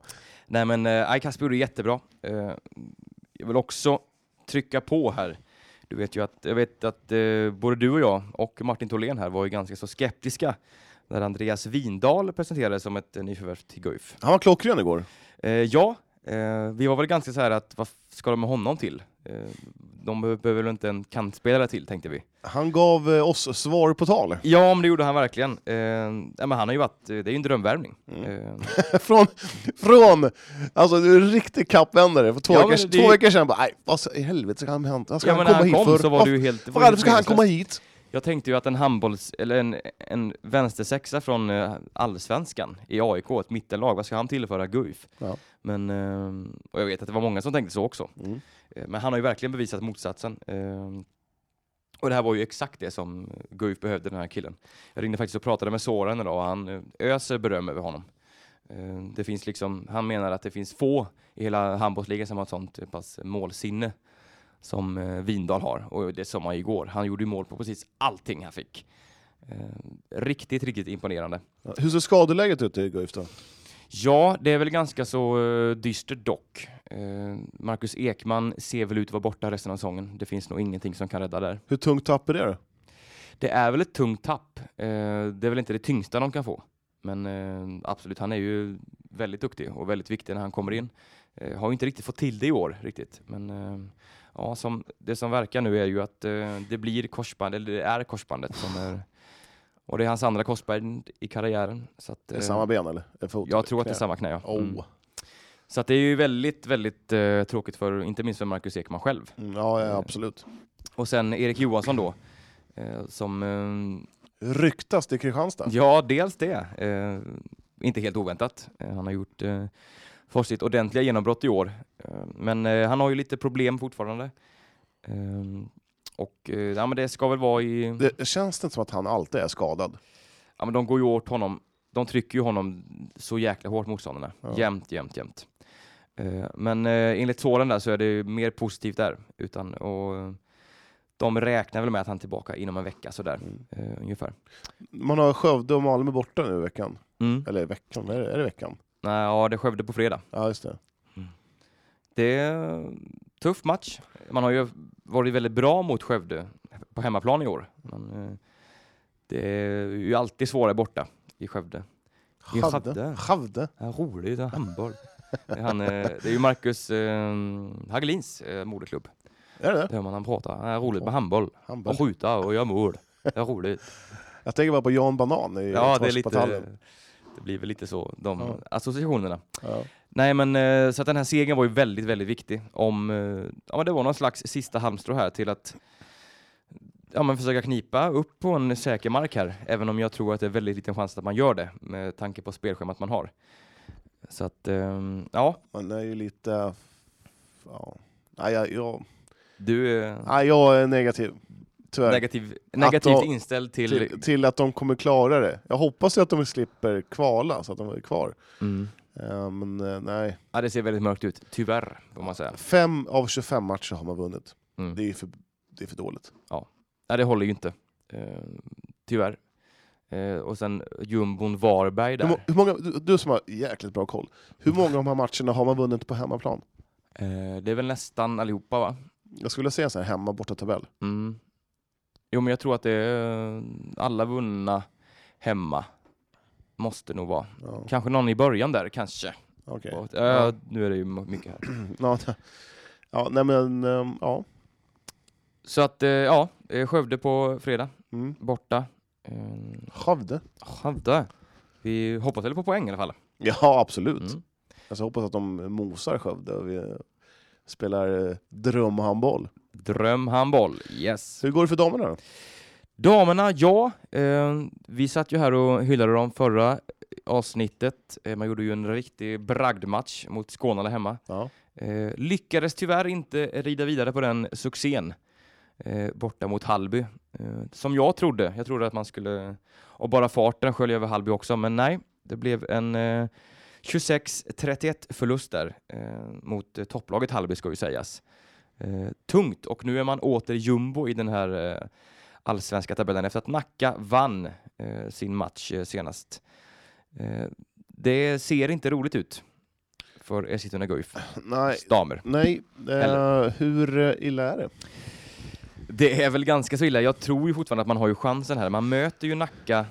Speaker 1: Nej men eh, nej, Kasper gjorde jättebra. Eh, jag vill också trycka på här. Du vet ju att, jag vet att eh, både du och jag och Martin Tholén här var ju ganska så skeptiska när Andreas Windahl presenterades som ett eh, nyförvärv till Guif.
Speaker 2: Han var klockren igår.
Speaker 1: Eh, ja, eh, vi var väl ganska så här att vad f- ska de med honom till? Eh, de be- behöver väl inte en kantspelare till tänkte vi.
Speaker 2: Han gav eh, oss svar på tal.
Speaker 1: Ja, men det gjorde han verkligen. Eh, ja, men han har ju varit, eh, det är ju en drömvärvning.
Speaker 2: Mm.
Speaker 1: Eh,
Speaker 2: från, från, alltså du är en riktig kappvändare. För två,
Speaker 1: Ja, men
Speaker 2: veckor,
Speaker 1: det är
Speaker 2: två
Speaker 1: ju-
Speaker 2: veckor sedan bara, nej vad så- i helvete ska han, han ska
Speaker 1: ja, men
Speaker 2: han komma
Speaker 1: när han
Speaker 2: hit
Speaker 1: kom
Speaker 2: för?
Speaker 1: så var det ju helt... det var
Speaker 2: Varför
Speaker 1: helt
Speaker 2: ska han komma
Speaker 1: meningslöst.
Speaker 2: hit?
Speaker 1: Jag tänkte ju att en handbolls... Eller en, en vänstersexa från eh, allsvenskan i AIK, ett mittenlag, vad ska han tillföra Guif?
Speaker 2: Ja.
Speaker 1: Men, eh, och jag vet att det var många som tänkte så också.
Speaker 2: Mm.
Speaker 1: Eh, Men han har ju verkligen bevisat motsatsen. Eh, Och det här var ju exakt det som Guif behövde, den här killen. Jag ringde faktiskt och pratade med Soran idag och han eh, öser beröm över honom. Eh, Det finns liksom, han menar att det finns få i hela handbollsligan som har ett sånt eh, pass målsinne som eh, Vindal har. Och det som han igår. Han gjorde ju mål på precis allting han fick. Eh, riktigt, riktigt imponerande.
Speaker 2: Ja, Hur ser skadeläget ut i Guif då?
Speaker 1: Ja, det är väl ganska så eh, dystert dock. Eh, Marcus Ekman ser väl ut att vara borta resten av säsongen. Det finns nog ingenting som kan rädda där.
Speaker 2: Hur tungt tapp är det då?
Speaker 1: Det är väl ett tungt tapp. Eh, det är väl inte det tyngsta de kan få. Men eh, absolut, han är ju väldigt duktig och väldigt viktig när han kommer in. Eh, har ju inte riktigt fått till det i år riktigt. Men eh, ja, som, det som verkar nu är ju att eh, det blir korsband, eller det är korsbandet som är... Och det är hans andra korsband i karriären. Så att,
Speaker 2: Är det
Speaker 1: eh,
Speaker 2: samma ben eller? Är det fot?
Speaker 1: jag tror att det är
Speaker 2: Knä?
Speaker 1: samma knä, ja.
Speaker 2: Oh.
Speaker 1: Mm. Så att det är ju väldigt, väldigt eh, tråkigt för, inte minst för Marcus Ekman själv.
Speaker 2: Mm, ja, ja, absolut.
Speaker 1: Och sen Erik Johansson då, eh, som eh,
Speaker 2: Ryktas till Kristianstad?
Speaker 1: Ja, dels det. Eh, inte helt oväntat. Eh, han har gjort eh, först sitt ordentliga genombrott i år. Eh, men eh, han har ju lite problem fortfarande. Eh, och eh, ja, men det ska väl vara i...
Speaker 2: Det, känns det inte som att han alltid är skadad?
Speaker 1: Ja, men de går ju åt honom. De trycker ju honom så jäkla hårt, motståndarna.
Speaker 2: Ja.
Speaker 1: Jämt, jämt, jämt. Eh, men eh, enligt Soran där så är det ju mer positivt där. Utan, och, eh, de räknar väl med att han är tillbaka inom en vecka sådär, eh, ungefär.
Speaker 2: Man har Skövde och Malmö borta nu i veckan.
Speaker 1: Mm.
Speaker 2: Eller veckan, är det, är det veckan?
Speaker 1: Nej, Ja, det är Skövde på fredag.
Speaker 2: Ja, just det.
Speaker 1: Det är en tuff match. Man har ju varit väldigt bra mot Skövde på hemmaplan i år. Men, eh, det är ju alltid svårare borta i Skövde. I Skövde.
Speaker 2: Skövde.
Speaker 1: Ja, roligt, det är handboll. Det är Han, eh, det är ju Marcus eh, Hagelins eh, moderklubb.
Speaker 2: Är det det?
Speaker 1: Det hör man han pratar. Det är roligt med handboll.
Speaker 2: Handboll.
Speaker 1: Och skjuta och göra mål. Det är roligt.
Speaker 2: Jag tänker bara på Jan Banan
Speaker 1: Ja,
Speaker 2: i
Speaker 1: det är
Speaker 2: Göteborgsbataljen.
Speaker 1: lite... Det blir väl lite så, de
Speaker 2: Ja.
Speaker 1: associationerna.
Speaker 2: Ja.
Speaker 1: Nej, men eh, så att den här segern var ju väldigt, väldigt viktig. Om, eh, ja, men det var någon slags sista halmstrå här till att ja, men försöka knipa upp på en säker mark här, även om jag tror att det är väldigt liten chans att man gör det med tanke på spelschemat man har. Så att, ehm, ja,
Speaker 2: Man är ju lite... Ja. Nej, jag, jag,
Speaker 1: du eh, är
Speaker 2: nej, jag är negativ. Tyvärr.
Speaker 1: negativ, negativt
Speaker 2: då-
Speaker 1: inställd till...
Speaker 2: till, till att de kommer klara det. Jag hoppas ju att de slipper kvala så att de är kvar.
Speaker 1: Mm.
Speaker 2: Eh, Men eh, nej.
Speaker 1: Ja, det ser väldigt mörkt ut, tyvärr, får man säga.
Speaker 2: Fem av 25 matcher har man vunnit.
Speaker 1: Mm.
Speaker 2: Det är för, det är för dåligt.
Speaker 1: Nej, det håller ju inte. Eh, tyvärr. Eh, Eh, och sen jumbon Varberg
Speaker 2: Hur,
Speaker 1: där.
Speaker 2: må- hur många, du, du som har jäkligt bra koll, hur många av de här matcherna har man vunnit på hemmaplan?
Speaker 1: Eh, det är väl nästan allihopa va?
Speaker 2: Jag skulle säga så här, hemma borta tabell.
Speaker 1: Mm. Jo men jag tror att det är eh, alla vunna hemma. Måste nog vara.
Speaker 2: Ja,
Speaker 1: Kanske någon i början där kanske.
Speaker 2: okej.
Speaker 1: Och, eh,
Speaker 2: Ja.
Speaker 1: Nu är det ju m- mycket här.
Speaker 2: ja, nej. ja, nej men, ehm, ja.
Speaker 1: Så att eh, ja, eh, Skövde på fredag.
Speaker 2: Mm.
Speaker 1: Borta. Eh,
Speaker 2: Skövde?
Speaker 1: Skövde. Vi hoppas väl på poäng i alla fall.
Speaker 2: Ja, absolut.
Speaker 1: Mm.
Speaker 2: Alltså, jag hoppas att de mosar Skövde och vi eh, spelar eh, drömhandboll.
Speaker 1: Drömhandboll, yes.
Speaker 2: Så hur går det för damerna då?
Speaker 1: Damerna, ja. Eh, vi satt ju här och hyllade dem förra eh, avsnittet. Eh, man gjorde ju en riktig bragdmatch mot Skåne där hemma.
Speaker 2: Ja.
Speaker 1: Eh, lyckades tyvärr inte rida vidare på den succén eh, borta mot Hallby. Eh, som jag trodde. Jag trodde att man skulle, och bara farten skölja över Hallby också, men nej. Det blev en eh, 26-31 förlust där eh, mot eh, topplaget Hallby ska ju sägas. Eh, tungt och nu är man åter jumbo i den här eh, allsvenska tabellen efter att Nacka vann eh, sin match eh, senast. Eh, det ser inte roligt ut för Eskilstuna Guif
Speaker 2: Nej,
Speaker 1: damer.
Speaker 2: nej. Eh, hur eh, illa är det?
Speaker 1: Det är väl ganska så illa. Jag tror ju fortfarande att man har ju chansen här. Man möter ju Nacka.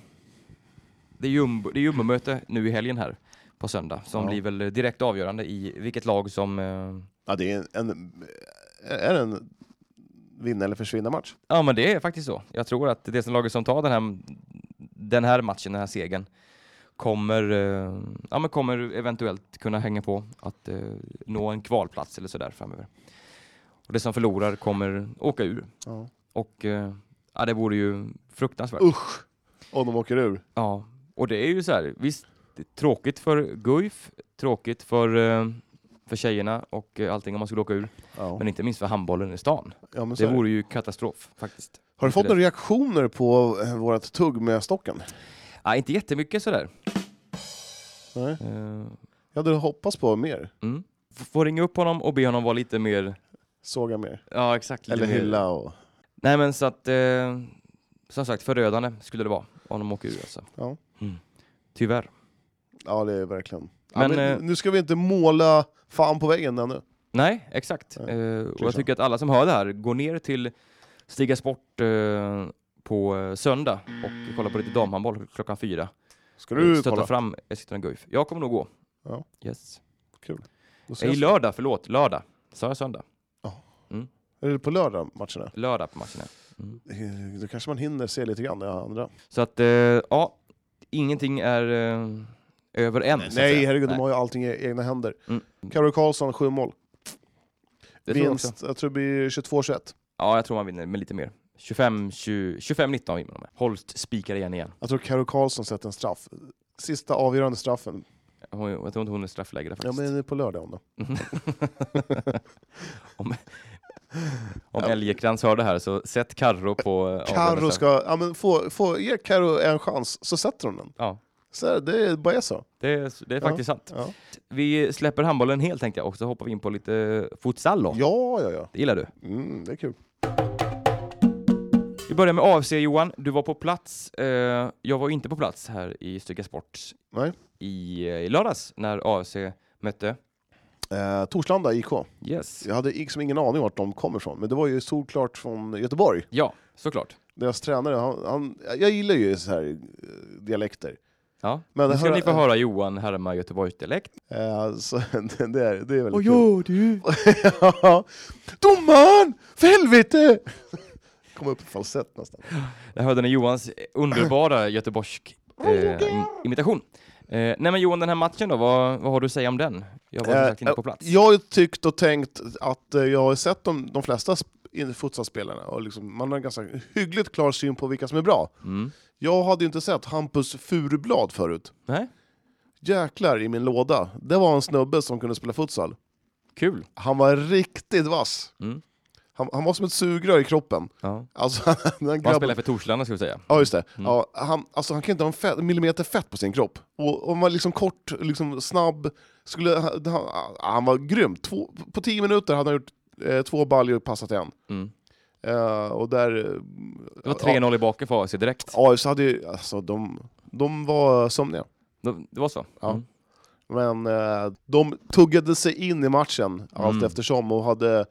Speaker 1: Det är jumbo, det är jumbomöte nu i helgen här på söndag som
Speaker 2: Ja.
Speaker 1: blir väl direkt avgörande i vilket lag som... eh,
Speaker 2: Ja, det är en, en, är det en vinna eller försvinna match.
Speaker 1: Ja men det är faktiskt så. Jag tror att det som laget som tar den här, den här matchen, den här segern kommer, eh, ja, men kommer eventuellt kunna hänga på att eh, nå en kvalplats eller sådär framöver. Och det som förlorar kommer åka ur.
Speaker 2: Ja.
Speaker 1: Och eh, ja, det vore ju fruktansvärt.
Speaker 2: Usch! Om de åker ur.
Speaker 1: Ja, och det är ju så här, visst, det är tråkigt för Guif, tråkigt för, eh, för tjejerna och eh, allting om man skulle åka ur,
Speaker 2: Ja.
Speaker 1: men inte minst för handbollen i stan.
Speaker 2: ja, men så
Speaker 1: Det
Speaker 2: är det.
Speaker 1: vore ju katastrof faktiskt.
Speaker 2: Har du fått
Speaker 1: det.
Speaker 2: några reaktioner på eh, vårat tugg med stocken?
Speaker 1: Ja, inte jättemycket sådär.
Speaker 2: Nej.
Speaker 1: Eh,
Speaker 2: Jag hade hoppats på mer.
Speaker 1: mm. F- Får ringa upp honom och be honom vara lite mer,
Speaker 2: Såga mer.
Speaker 1: ja exakt. Lite
Speaker 2: Eller
Speaker 1: mer.
Speaker 2: hylla och...
Speaker 1: Nej men så att, eh, som sagt förödande skulle det vara om de åker ur alltså.
Speaker 2: Ja.
Speaker 1: Mm. Tyvärr.
Speaker 2: Ja, det är verkligen.
Speaker 1: Men,
Speaker 2: ja, men
Speaker 1: eh,
Speaker 2: nu ska vi inte måla fan på väggen ännu.
Speaker 1: Nej, exakt.
Speaker 2: Nej,
Speaker 1: Eh, och jag
Speaker 2: precis.
Speaker 1: tycker att alla som hör det här, går ner till Stiga Sport eh, på eh, söndag och kolla på lite damhandboll klockan fyra. Eh,
Speaker 2: Ska du
Speaker 1: Stötta
Speaker 2: kolla?
Speaker 1: fram Eskilstuna Guif. Jag kommer nog gå.
Speaker 2: Ja.
Speaker 1: Yes.
Speaker 2: Då
Speaker 1: Nej,
Speaker 2: ses vi.
Speaker 1: lördag, förlåt. Lördag. Sa jag söndag?
Speaker 2: Är det på lördag matcherna?
Speaker 1: Lördag på matchen. ja. Mm.
Speaker 2: Eh, Då kanske man hinner se lite grann det andra.
Speaker 1: Så att, eh, ja, ingenting är eh, över än. så att
Speaker 2: Nej,
Speaker 1: säga.
Speaker 2: herregud, de
Speaker 1: Nej,
Speaker 2: har ju allting i egna händer.
Speaker 1: Mm.
Speaker 2: Karo Karlsson, sju mål.
Speaker 1: det tror jag, också.
Speaker 2: Vinst, jag tror det blir 22-21.
Speaker 1: ja, jag tror man vinner med lite mer. 25-19 vinner de med. Holst spikar igen igen.
Speaker 2: Jag tror Karo Karlsson sätter en straff. Sista avgörande straffen.
Speaker 1: Hon, jag tror inte hon är straffläggare
Speaker 2: Ja,
Speaker 1: faktiskt.
Speaker 2: men det är på lördag då.
Speaker 1: om om Elgekrans hör det här så sätt Karro på... eh,
Speaker 2: Karo
Speaker 1: avgörande
Speaker 2: ska, ja men få, få, ge Karo en chans så sätter hon den.
Speaker 1: Ja.
Speaker 2: Så här, det är bara är så.
Speaker 1: Det är, det är
Speaker 2: Ja.
Speaker 1: faktiskt sant.
Speaker 2: Ja,
Speaker 1: Vi släpper handbollen helt tänkte jag och så hoppar vi in på lite futsal då.
Speaker 2: ja, ja. ja.
Speaker 1: Det gillar du.
Speaker 2: Mm, det är kul.
Speaker 1: Vi börjar med AFC Johan. Du var på plats. Eh, jag var ju inte på plats här i Stygga Sport
Speaker 2: Nej.
Speaker 1: i, eh, i lördags när AFC mötte.
Speaker 2: Eh, Torslanda IK.
Speaker 1: Yes.
Speaker 2: Jag hade liksom ingen aning vart de kommer ifrån, men det var ju solklart från Göteborg.
Speaker 1: Ja, såklart.
Speaker 2: Deras tränare, han, han, jag gillar ju så här eh, dialekter.
Speaker 1: Ja.
Speaker 2: Men
Speaker 1: Nu ska
Speaker 2: hör-
Speaker 1: ni få höra Johan härma Göteborgsdialekt.
Speaker 2: Eh, så, det, det, är, det är väldigt kul.
Speaker 1: ja du!
Speaker 2: Ja. Domaren! För helvete! Kom upp i falsett nästan.
Speaker 1: Där hörde ni Johans underbara göteborgsk eh, im- imitation. Eh, nej men Johan, den här matchen då, vad, vad har du att säga om den? Jag var som
Speaker 2: Eh,
Speaker 1: sagt inte på plats.
Speaker 2: Jag har tyckt och tänkt att eh, jag har sett de, de flesta sp- in- futsalspelarna och liksom, man har en ganska hyggligt klar syn på vilka som är bra.
Speaker 1: Mm.
Speaker 2: Jag hade ju inte sett Hampus Furublad förut.
Speaker 1: Nej,
Speaker 2: Jäklar i min låda. Det var en snubbe som kunde spela futsal.
Speaker 1: kul.
Speaker 2: Han var riktigt vass.
Speaker 1: Mm.
Speaker 2: Han, han var som ett sugrör i kroppen.
Speaker 1: Ja.
Speaker 2: Alltså, den här
Speaker 1: Man
Speaker 2: grabben-
Speaker 1: spelar Mm. för Torslanda skulle jag säga.
Speaker 2: Ja, just det. Ja, han, alltså, han kan inte ha en fett, millimeter fett på sin kropp. Och, och han var liksom kort, liksom snabb. Skulle, ah, han, han- han var grym. Två, på tio minuter hade han gjort eh, två baljor och passat en.
Speaker 1: Mm.
Speaker 2: Eh, och där...
Speaker 1: Det var 3-0 i baken för AIC direkt.
Speaker 2: AIS hade ju... Alltså, de, de var sömniga.
Speaker 1: De- Det var så?
Speaker 2: Ja.
Speaker 1: Mm.
Speaker 2: Men eh, de tuggade sig in i matchen allt
Speaker 1: Mm.
Speaker 2: eftersom och hade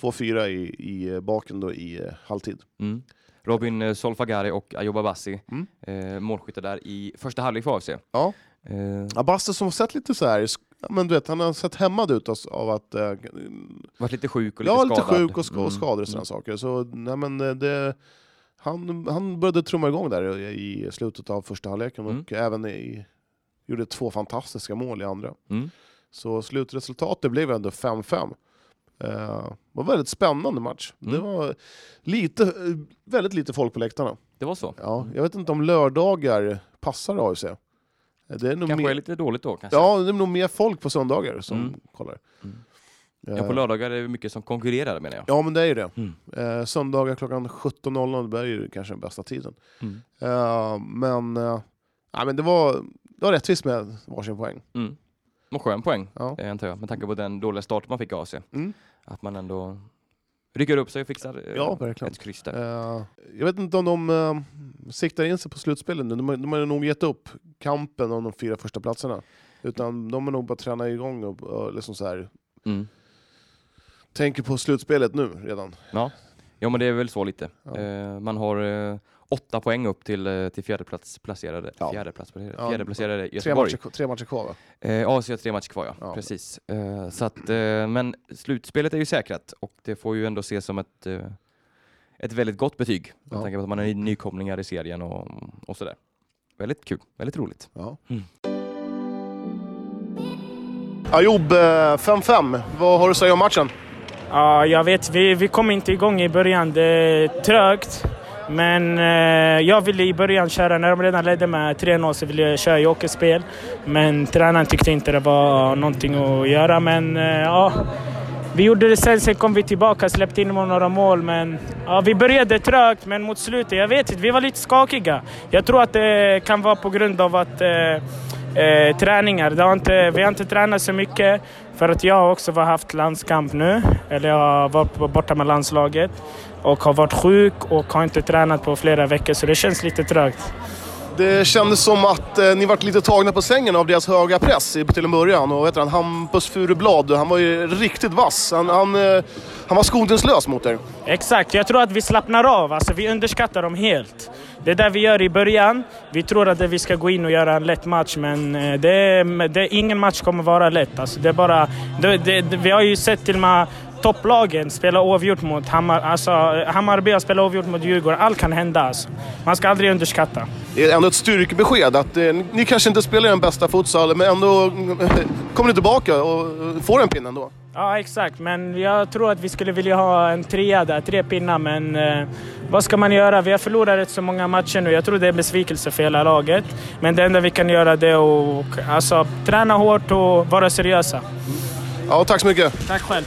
Speaker 2: 2-4 i, i baken då i eh, halvtid.
Speaker 1: Mm. Robin eh, Solfagari och Ayoub Bassi,
Speaker 2: Mm.
Speaker 1: eh, målskyttar där i första halvlek för AFC.
Speaker 2: Ja.
Speaker 1: Eh,
Speaker 2: Abaste som har sett lite så här, sk- ja, men du vet, han har sett hämmad ut av- av att... Eh,
Speaker 1: varit lite sjuk och lite
Speaker 2: ja,
Speaker 1: skadad.
Speaker 2: lite sjuk och, sk-
Speaker 1: Mm.
Speaker 2: och skador och sådana saker. Så nej, men eh, det, han, han började trumma igång där i i slutet av första halvleken
Speaker 1: Mm.
Speaker 2: och även i, gjorde två fantastiska mål i andra.
Speaker 1: Mm.
Speaker 2: Så slutresultatet blev ändå 5-5. Eh, Det var en väldigt spännande match. Det
Speaker 1: Mm.
Speaker 2: var lite, eh, väldigt lite folk på läktarna.
Speaker 1: Det var så.
Speaker 2: Ja, jag vet inte om lördagar passar AIC. Eh, Det är nog
Speaker 1: Kanske är
Speaker 2: mer,
Speaker 1: lite dåligt då kanske.
Speaker 2: ja, det är nog mer folk på söndagar som
Speaker 1: Mm.
Speaker 2: kollar.
Speaker 1: Mm.
Speaker 2: Eh,
Speaker 1: Ja, på lördagar är det mycket som konkurrerar menar jag.
Speaker 2: Ja, men det är ju det.
Speaker 1: Mm.
Speaker 2: Eh, Söndagar klockan 17.00 det är ju kanske den bästa tiden.
Speaker 1: Mm.
Speaker 2: Eh, Men, eh, ja, men det, var, det var rättvist med varsin poäng.
Speaker 1: Mm. Och skön poäng,
Speaker 2: Ja.
Speaker 1: eh, antar jag, med tanke på den dåliga start man fick av sig.
Speaker 2: Mm.
Speaker 1: Att man ändå rycker upp sig och fixar eh,
Speaker 2: Ja, verkligen.
Speaker 1: ett kryss där.
Speaker 2: Eh, jag vet inte om de eh, siktar in sig på slutspelen nu. De, har- de har nog gett upp kampen om de fyra första platserna. Utan de har nog bara tränat igång och, och liksom så här,
Speaker 1: Mm.
Speaker 2: tänker på slutspelet nu redan.
Speaker 1: Ja, men det är väl så lite.
Speaker 2: Ja.
Speaker 1: Eh, man har eh, åtta poäng upp till, eh, till fjärdeplatsplacerade.
Speaker 2: Ja.
Speaker 1: Fjärdeplatsplacerade.
Speaker 2: Ja,
Speaker 1: Fjärdeplacerade
Speaker 2: Tre
Speaker 1: Göteborg.
Speaker 2: matcher, tre matcher kvar va?
Speaker 1: Eh, AIC har tre matcher kvar, ja.
Speaker 2: Ja.
Speaker 1: Precis. Eh, så att, eh, men slutspelet är ju säkrat och det får ju ändå ses som ett, eh, ett väldigt gott betyg med
Speaker 2: Ja.
Speaker 1: tanke på att man är nykomlingar i serien och, och sådär. Väldigt kul, väldigt roligt.
Speaker 2: Ja.
Speaker 1: Mm.
Speaker 2: Ayoub, eh, 5-5. Vad har du att säga om matchen?
Speaker 5: Ja, jag vet. Vi, vi kom inte igång i början. Det är trögt. Men eh, jag ville i början köra, när de redan ledde med 3-0 så ville jag köra jokerspel. Men tränaren tyckte inte det var någonting att göra. Men eh, ja, vi gjorde det sen. Sen kom vi tillbaka och släppte in några mål. Men ja, vi började trögt, men mot slutet, jag vet inte, vi var lite skakiga. Jag tror att det kan vara på grund av att eh, eh, träningar. Det har inte, vi har inte tränat så mycket för att jag har också har haft landskamp nu. Eller jag har varit på- borta med landslaget och har varit sjuk och har inte tränat på flera veckor så det känns lite trögt.
Speaker 2: Det kändes som att eh, ni vart lite tagna på sängen av deras höga press i- till en början. Och vet du, han, Hampus Furublad, han var ju riktigt vass. Han, han, eh, han var skoningslös mot er.
Speaker 5: Exakt, jag tror att vi slappnar av. Alltså, vi underskattar dem helt. Det är det vi gör i början. Vi tror att vi ska gå in och göra en lätt match, men eh, det är, det är, ingen match kommer vara lätt. Alltså, det är bara, det, det, det, vi har ju sett till och med topplagen spela oavgjort mot Hammar, alltså, Hammarby, har spelat oavgjort mot Djurgården. Allt kan hända. Alltså. Man ska aldrig underskatta.
Speaker 2: Det är ändå ett styrkebesked att eh, ni- ni kanske inte spelar den bästa futsal, men ändå eh, kommer ni tillbaka och eh, får en pinne ändå.
Speaker 5: Ja, exakt. Men jag tror att vi skulle vilja ha en trea där, tre pinnar. Men eh, vad ska man göra? Vi har förlorat rätt så många matcher nu. Jag tror det är besvikelse för hela laget. Men det enda vi kan göra det är att alltså, träna hårt och vara seriösa.
Speaker 2: Ja, tack så mycket.
Speaker 5: Tack själv.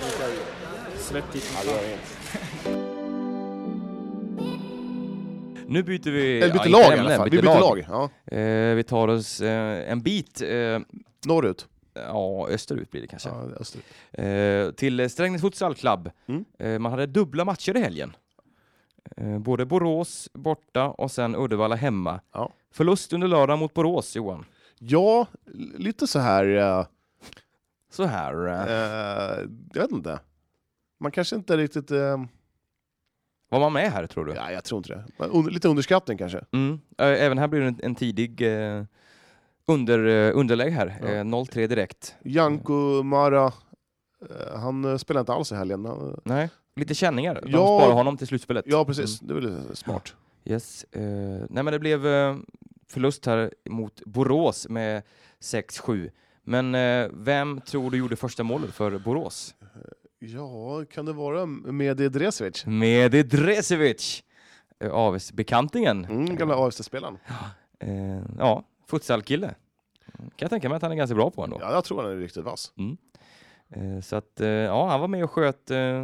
Speaker 5: Svettigt.
Speaker 1: Nu byter vi...
Speaker 2: Eller byter
Speaker 1: inte
Speaker 2: lag i
Speaker 1: ämne,
Speaker 2: alla fall. Vi byter lag. Ja.
Speaker 1: Eh, vi tar oss eh, en bit, eh,
Speaker 2: Norrut.
Speaker 1: ja österut blir det kanske,
Speaker 2: Ja, österut.
Speaker 1: eh, till eh, Strängnäs Futsal Club.
Speaker 2: Mm.
Speaker 1: Eh, man hade dubbla matcher i helgen. Eh, både Borås borta och sen Uddevalla hemma.
Speaker 2: Ja.
Speaker 1: Förlust under lördag mot Borås, Johan.
Speaker 2: ja, lite så här... eh,
Speaker 1: Så här. eh,
Speaker 2: eh, jag vet inte. Man kanske inte riktigt... eh,
Speaker 1: Var man med här tror du?
Speaker 2: ja, jag tror inte det. Men un- Lite underskattning kanske.
Speaker 1: Mm. Ä- Även här blir det en, en tidig eh, under, eh, underläge här.
Speaker 2: Ja.
Speaker 1: Eh, 0-3 direkt.
Speaker 2: Janko Mara, eh, han eh, spelar inte alls i helgen. Han-
Speaker 1: Nej. Lite känningar. De
Speaker 2: Ja.
Speaker 1: sparar honom till Mm. slutspelet.
Speaker 2: Ja, precis. Det är väl smart.
Speaker 1: Yes. Eh, nej men det blev eh, förlust här mot Borås med 6-7. Men eh, vem tror du gjorde första målet för Borås?
Speaker 2: Ja, kan det vara med Dresevic?
Speaker 1: Mehdi Dresevic! Eh, AVS-bekantingen.
Speaker 2: Mm, gamla AFC-spelaren.
Speaker 1: Eh, ja, futsalkille. Kan jag tänka mig att han är ganska bra på ändå.
Speaker 2: Ja, jag tror han är riktigt vass.
Speaker 1: Eh, Så att, eh, ja, han var med och sköt eh,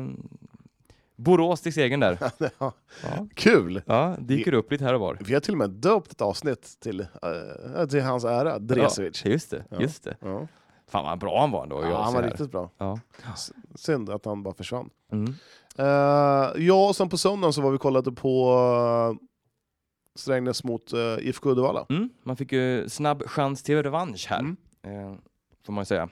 Speaker 1: Borås till segern där.
Speaker 2: Ja,
Speaker 1: Ja,
Speaker 2: Kul!
Speaker 1: ja dyker upp lite här och var.
Speaker 2: Vi har till och med döpt ett avsnitt till, eh, till hans ära, Dresevic.
Speaker 1: Ja, just det,
Speaker 2: Ja.
Speaker 1: just det.
Speaker 2: Ja.
Speaker 1: Fan vad bra han var ändå.
Speaker 2: Ja,
Speaker 1: jag
Speaker 2: han
Speaker 1: ser
Speaker 2: var
Speaker 1: här.
Speaker 2: riktigt bra.
Speaker 1: Ja.
Speaker 2: S- Synd att han bara försvann.
Speaker 1: Mm.
Speaker 2: Eh, ja, och sen på söndagen så var vi och kollade på eh, Strängnäs mot eh, IFK Uddevalla.
Speaker 1: Mm. Man fick ju snabb chans till revansch här,
Speaker 2: Mm.
Speaker 1: eh, får man ju säga.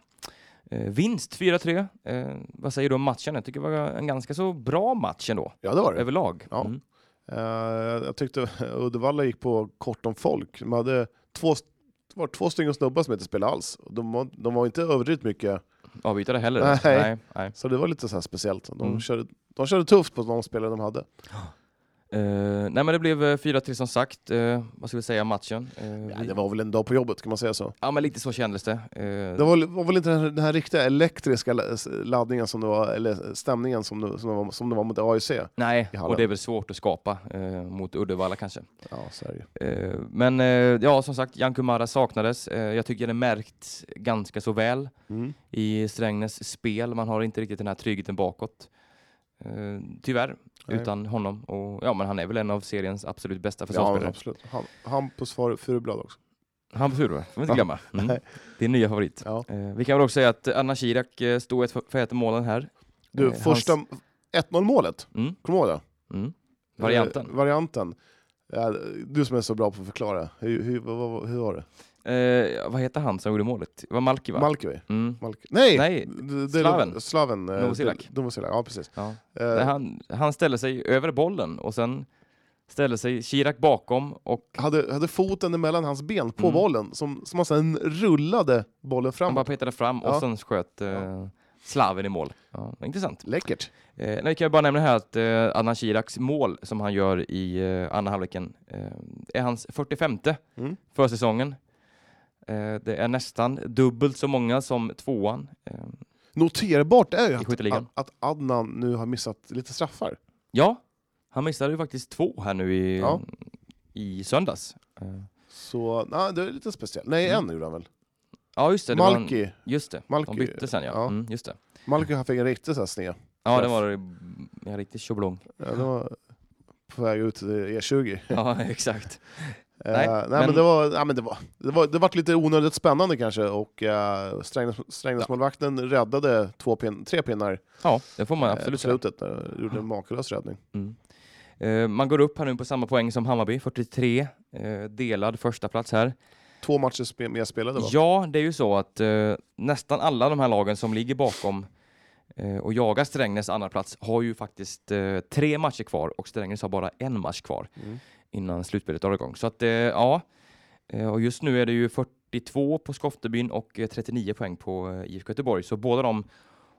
Speaker 1: Eh, vinst 4-3. Eh, vad säger du om matchen? Jag tycker det var en ganska så bra match ändå,
Speaker 2: Ja, det var det.
Speaker 1: överlag.
Speaker 2: Ja.
Speaker 1: Mm.
Speaker 2: Eh, jag tyckte Uddevalla gick på kort om folk. De hade två, det var två stycken snubbar som inte spelade alls. De var, de var inte överdrivet mycket,
Speaker 1: Avbytare heller.
Speaker 2: Nej.
Speaker 1: Nej, nej.
Speaker 2: så det var lite så här speciellt. De,
Speaker 1: Mm.
Speaker 2: körde, de körde tufft på de spelare de hade.
Speaker 1: Eh, nej men det blev eh, 4-3 som sagt. Eh, vad ska vi säga om matchen? Eh,
Speaker 2: Ja,
Speaker 1: vi-
Speaker 2: det var väl en dag på jobbet, kan man säga så.
Speaker 1: ja men lite så kändes det. Eh,
Speaker 2: Det var, var väl inte den här, den här riktiga elektriska laddningen, som det var, eller stämningen som det, som det, var, som det var mot AIC.
Speaker 1: Nej,
Speaker 2: i hallen.
Speaker 1: och det är väl svårt att skapa eh, mot Uddevalla kanske.
Speaker 2: Ja, så är det ju.
Speaker 1: Eh, men eh, ja, som sagt, Jan Kumara saknades. Eh, jag tycker det märkt ganska så väl
Speaker 2: Mm.
Speaker 1: i Strängnäs spel. Man har inte riktigt den här tryggheten bakåt. Eh, tyvärr,
Speaker 2: Nej.
Speaker 1: utan honom. Och, ja, men han är väl en av seriens absolut bästa
Speaker 2: Ja,
Speaker 1: försvarsspelare.
Speaker 2: absolut. Han, Hampus Fur- Furublad också.
Speaker 1: Han får det får man inte glömma. Mm.
Speaker 2: Nej.
Speaker 1: Din nya favorit.
Speaker 2: Ja.
Speaker 1: Eh, vi kan väl också säga att Anna Kirak eh, stod ett för ett målen här.
Speaker 2: Du,
Speaker 1: Eh,
Speaker 2: första 1-0 målet,
Speaker 1: Mm,
Speaker 2: kommer du ihåg det?
Speaker 1: mm. Varianten.
Speaker 2: Eh, varianten. Eh, Du som är så bra på att förklara, hur, hur, vad, vad, hur var det?
Speaker 1: Eh, vad heter han som gjorde målet? Det var Malki va?
Speaker 2: Malkivi?
Speaker 1: mm.
Speaker 2: Malk... Nej!
Speaker 1: Nej,
Speaker 2: D-
Speaker 1: Slaven.
Speaker 2: Slaven. eh,
Speaker 1: Novosilak.
Speaker 2: D- Novosilak, ja precis.
Speaker 1: Ja.
Speaker 2: Eh,
Speaker 1: Där Han, han ställde sig över bollen och sen ställde sig Kirak bakom och
Speaker 2: hade, hade foten emellan hans ben på
Speaker 1: Mm.
Speaker 2: bollen, som, som han sen rullade bollen
Speaker 1: han bara
Speaker 2: framåt.
Speaker 1: petade fram och
Speaker 2: Ja.
Speaker 1: sen sköt eh, Slaven i mål. Ja, intressant.
Speaker 2: Läckert.
Speaker 1: Eh, nej, vi kan ju bara nämna här att eh, Anna Kiraks mål som han gör i eh, andra halvleken eh, är hans 45
Speaker 2: Mm.
Speaker 1: för säsongen. Eh, det är nästan dubbelt så många som tvåan. Eh,
Speaker 2: Noterbart är ju
Speaker 1: I
Speaker 2: att, att,
Speaker 1: skytteligan.
Speaker 2: att Adnan nu har missat lite straffar.
Speaker 1: ja, han missade ju faktiskt två här nu i,
Speaker 2: Ja.
Speaker 1: i söndags. Eh,
Speaker 2: Så nej, det är lite speciellt. Nej, en gjorde han väl?
Speaker 1: Mm. ja, just det. det var en-
Speaker 2: Malki.
Speaker 1: Just det,
Speaker 2: Malki-
Speaker 1: de bytte sen ja.
Speaker 2: ja.
Speaker 1: Mm, just det.
Speaker 2: Malki han fick en riktig så här sned.
Speaker 1: Ja, det
Speaker 2: Träff.
Speaker 1: var mm, en riktig tjoblong.
Speaker 2: Ja, det var på väg ut till E20.
Speaker 1: Ja, exakt. Nej,
Speaker 2: Nej, nej, men,
Speaker 1: men-
Speaker 2: det var, nej, men det var, det var, det vart lite onödigt spännande kanske och uh, Strängnäsmålvakten räddade två pin, tre pinnar
Speaker 1: Ja, det får man
Speaker 2: eh,
Speaker 1: absolut
Speaker 2: på
Speaker 1: säga.
Speaker 2: slutet. eh, gjorde en makalös räddning.
Speaker 1: Mm. Eh, man går upp här nu på samma poäng som Hammarby, 43. Eh, delad första plats här.
Speaker 2: Två matcher spe, mer spelade va?
Speaker 1: Ja, det är ju så att eh, nästan alla de här lagen som ligger bakom eh, och jagar Strängnäs andra plats har ju faktiskt eh, tre matcher kvar och Strängnäs har bara en match kvar
Speaker 2: Mm.
Speaker 1: innan slutspelet drar igång. Så att eh, ja, eh, och just nu är det ju 42 på Skoftebyn och eh, 39 poäng på eh, IFK Göteborg. Så båda de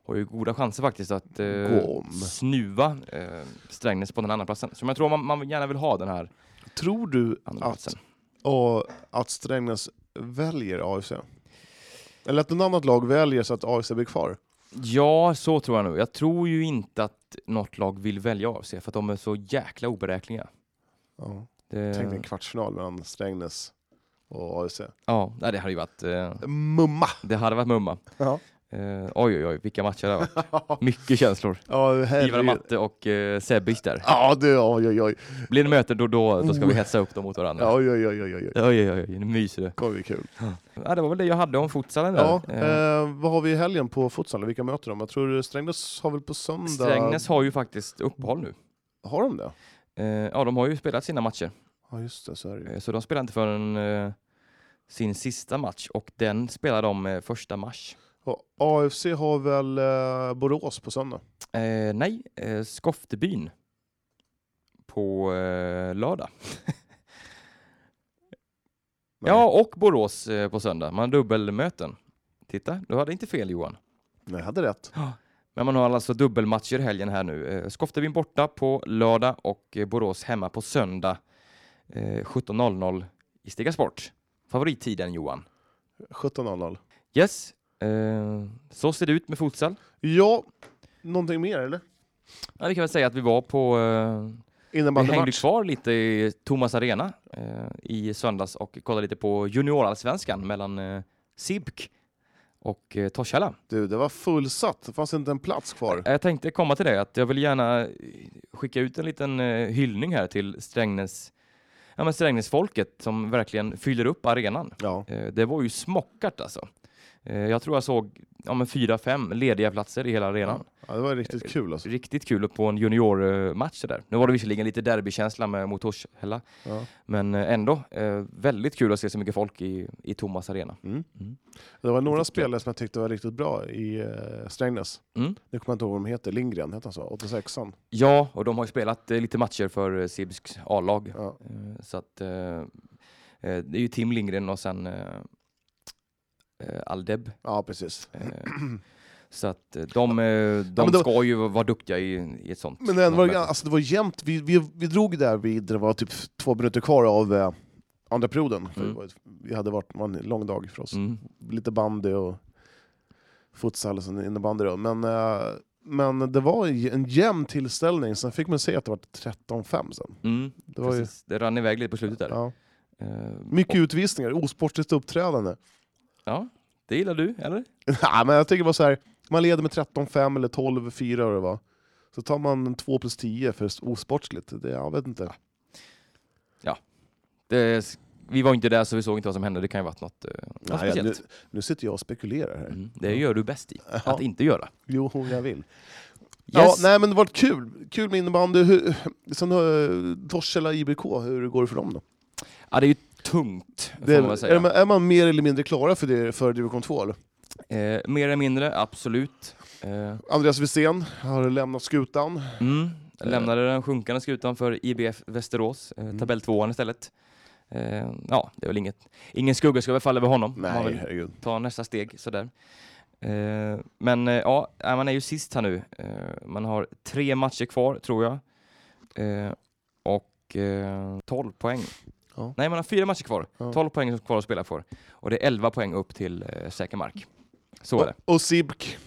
Speaker 1: har ju goda chanser faktiskt att eh,
Speaker 2: Gå om.
Speaker 1: snuva eh, Strängnäs på den andra platsen. Så jag tror man, man gärna vill ha den här
Speaker 2: Tror du
Speaker 1: andra
Speaker 2: att,
Speaker 1: platsen.
Speaker 2: och, att Strängnäs väljer AFC? Eller att något annat lag väljer så att AFC blir kvar?
Speaker 1: Ja, så tror jag nog. Jag tror ju inte att något lag vill välja AFC för att de är så jäkla oberäkneliga.
Speaker 2: Ja.
Speaker 1: Det,
Speaker 2: Tänk dig en kvartsfinal mellan Strängnäs och AFC.
Speaker 1: ja, nej, det hade ju varit, eh,
Speaker 2: Mumma!
Speaker 1: det hade varit mumma.
Speaker 2: Ja.
Speaker 1: Eh, oj, oj, oj, vilka matcher det har varit. Mycket känslor.
Speaker 2: Ja,
Speaker 1: Ivar
Speaker 2: herregud.
Speaker 1: Matte och eh, Sebbic där.
Speaker 2: Ja, du, oj, oj, oj.
Speaker 1: Blir det möte då, då, då ska vi hetsa upp dem mot varandra.
Speaker 2: Ja, oj, oj, oj, oj, oj.
Speaker 1: Oj, oj, oj, nu myser det.
Speaker 2: Det kommer bli kul.
Speaker 1: Ja, det var väl det jag hade om futsalen där.
Speaker 2: Ja,
Speaker 1: Eh,
Speaker 2: eh, vad har vi i helgen på futsal? Vilka möter de? Jag tror Strängnäs har väl på söndag?
Speaker 1: Strängnäs har ju faktiskt uppehåll nu.
Speaker 2: Har de det?
Speaker 1: Eh, ja, de har ju spelat sina matcher.
Speaker 2: Ja, just det. Så är det ju.
Speaker 1: Eh, Så de spelar inte förrän eh, sin sista match och den spelar de eh, första mars.
Speaker 2: Och AFC har väl eh, Borås på söndag?
Speaker 1: Eh, nej, eh, Skoftebyn på eh, lördag.
Speaker 2: Nej.
Speaker 1: Ja, och Borås eh, på söndag. Man har dubbelmöten. Titta, du hade inte fel Johan.
Speaker 2: Nej, jag hade rätt.
Speaker 1: Men man har alltså dubbelmatcher i helgen här nu. Eh, Skoftebyn borta på lördag och eh, Borås hemma på söndag eh, 17.00 i Stiga Sport. Favorittiden Johan.
Speaker 2: 17.00.
Speaker 1: Yes, eh, så ser det ut med futsal.
Speaker 2: Ja, någonting mer eller?
Speaker 1: Ja, vi kan väl säga att vi var på... Eh, vi hängde
Speaker 2: Innebandymatch?
Speaker 1: kvar lite i Thomas Arena eh, i söndags och kollade lite på juniorallsvenskan mellan eh, Sibk och eh, Torshälla.
Speaker 2: Du, det var fullsatt. Det fanns inte en plats kvar.
Speaker 1: Jag tänkte komma till det, att jag vill gärna eh, skicka ut en liten eh, hyllning här till Strängnäs, ja, men Strängnäsfolket som verkligen fyller upp arenan.
Speaker 2: Ja.
Speaker 1: Eh, det var ju smockat alltså. Eh, Eh, Jag tror jag såg ja, men fyra, fem lediga platser i hela arenan.
Speaker 2: Ja, det var riktigt kul alltså.
Speaker 1: Riktigt kul på en juniormatch där. Nu var det visserligen lite derbykänsla med, mot Torshälla,
Speaker 2: Ja.
Speaker 1: men eh, ändå eh, väldigt kul att se så mycket folk i, i Thomas arena.
Speaker 2: Mm.
Speaker 1: Mm.
Speaker 2: Det var några
Speaker 1: Riktigt kul.
Speaker 2: spelare som jag tyckte var riktigt bra i eh, Strängnäs.
Speaker 1: Mm.
Speaker 2: Nu kommer jag inte ihåg vad de heter, Lindgren hette han så, 86an.
Speaker 1: Ja, och de har ju spelat eh, lite matcher för eh, Sibsks A-lag.
Speaker 2: Ja.
Speaker 1: Eh, Så att eh, eh, det är ju Tim Lindgren och sen eh, eh, Aldeb.
Speaker 2: ja, precis.
Speaker 1: Eh, Så att eh, de, eh, de
Speaker 2: men då-
Speaker 1: ska ju vara duktiga i, i ett sånt.
Speaker 2: Men det, ändå var, det-
Speaker 1: möte.
Speaker 2: alltså, det var jämnt, vi, vi, vi drog där vid, det var typ två minuter kvar av eh, andra perioden. För
Speaker 1: Mm.
Speaker 2: det var ett- Vi hade varit, det var en lång dag för oss.
Speaker 1: Mm.
Speaker 2: Lite bandy och futsal och sen innebandy då. Men, eh, men det var j- en jämn tillställning, sen fick man se att det var 13-5 sen.
Speaker 1: Mm.
Speaker 2: Det var ju,
Speaker 1: Precis. Det rann iväg lite på slutet där.
Speaker 2: ja.
Speaker 1: Eh,
Speaker 2: Mycket
Speaker 1: och,
Speaker 2: utvisningar, osportligt uppträdande.
Speaker 1: Ja, det gillar du, eller?
Speaker 2: Nej, men jag tycker bara så här. man leder med 13-5 eller 12-4 eller vad det var. Så tar man 2 plus 10 för osportsligt. Det, jag vet inte.
Speaker 1: Det, vi var inte där så vi såg inte vad som hände. Det kan ju ha varit något, eh, något
Speaker 2: Nej, nu,
Speaker 1: speciellt.
Speaker 2: nu sitter jag och spekulerar här.
Speaker 1: Mm. Det gör du bäst i,
Speaker 2: Ja.
Speaker 1: att inte göra.
Speaker 2: Jo, jag vill. Ja,
Speaker 1: Yes.
Speaker 2: nej, men det var kul. Kul med innebandy. Hur, sen eh, Torshälla IBK, hur går det för dem då?
Speaker 1: Ja, det är ju tungt,
Speaker 2: Det,
Speaker 1: får man väl
Speaker 2: är,
Speaker 1: säga.
Speaker 2: är, man, är man mer eller mindre klara för, det, för division 2? Eller?
Speaker 1: Eh, mer eller mindre, absolut. Eh,
Speaker 2: Andreas Wisén har lämnat skutan.
Speaker 1: mm, lämnade den sjunkande skutan för IBF Västerås, eh,
Speaker 2: Mm.
Speaker 1: tabelltvåan istället. Eh, ja, det är väl inget, ingen skugga ska väl falla över honom. om
Speaker 2: Nej,
Speaker 1: han vill
Speaker 2: herregud.
Speaker 1: ta nästa steg sådär. Eh, men eh, ja, nej, man är ju sist här nu. Eh, man har tre matcher kvar, tror jag. Eh, och eh, 12 poäng.
Speaker 2: Ja.
Speaker 1: Nej, man har fyra matcher kvar.
Speaker 2: Ja.
Speaker 1: 12 poäng kvar att spela för. Och det är 11 poäng upp till eh, säker mark. Så är det.
Speaker 2: Och, och Sibk.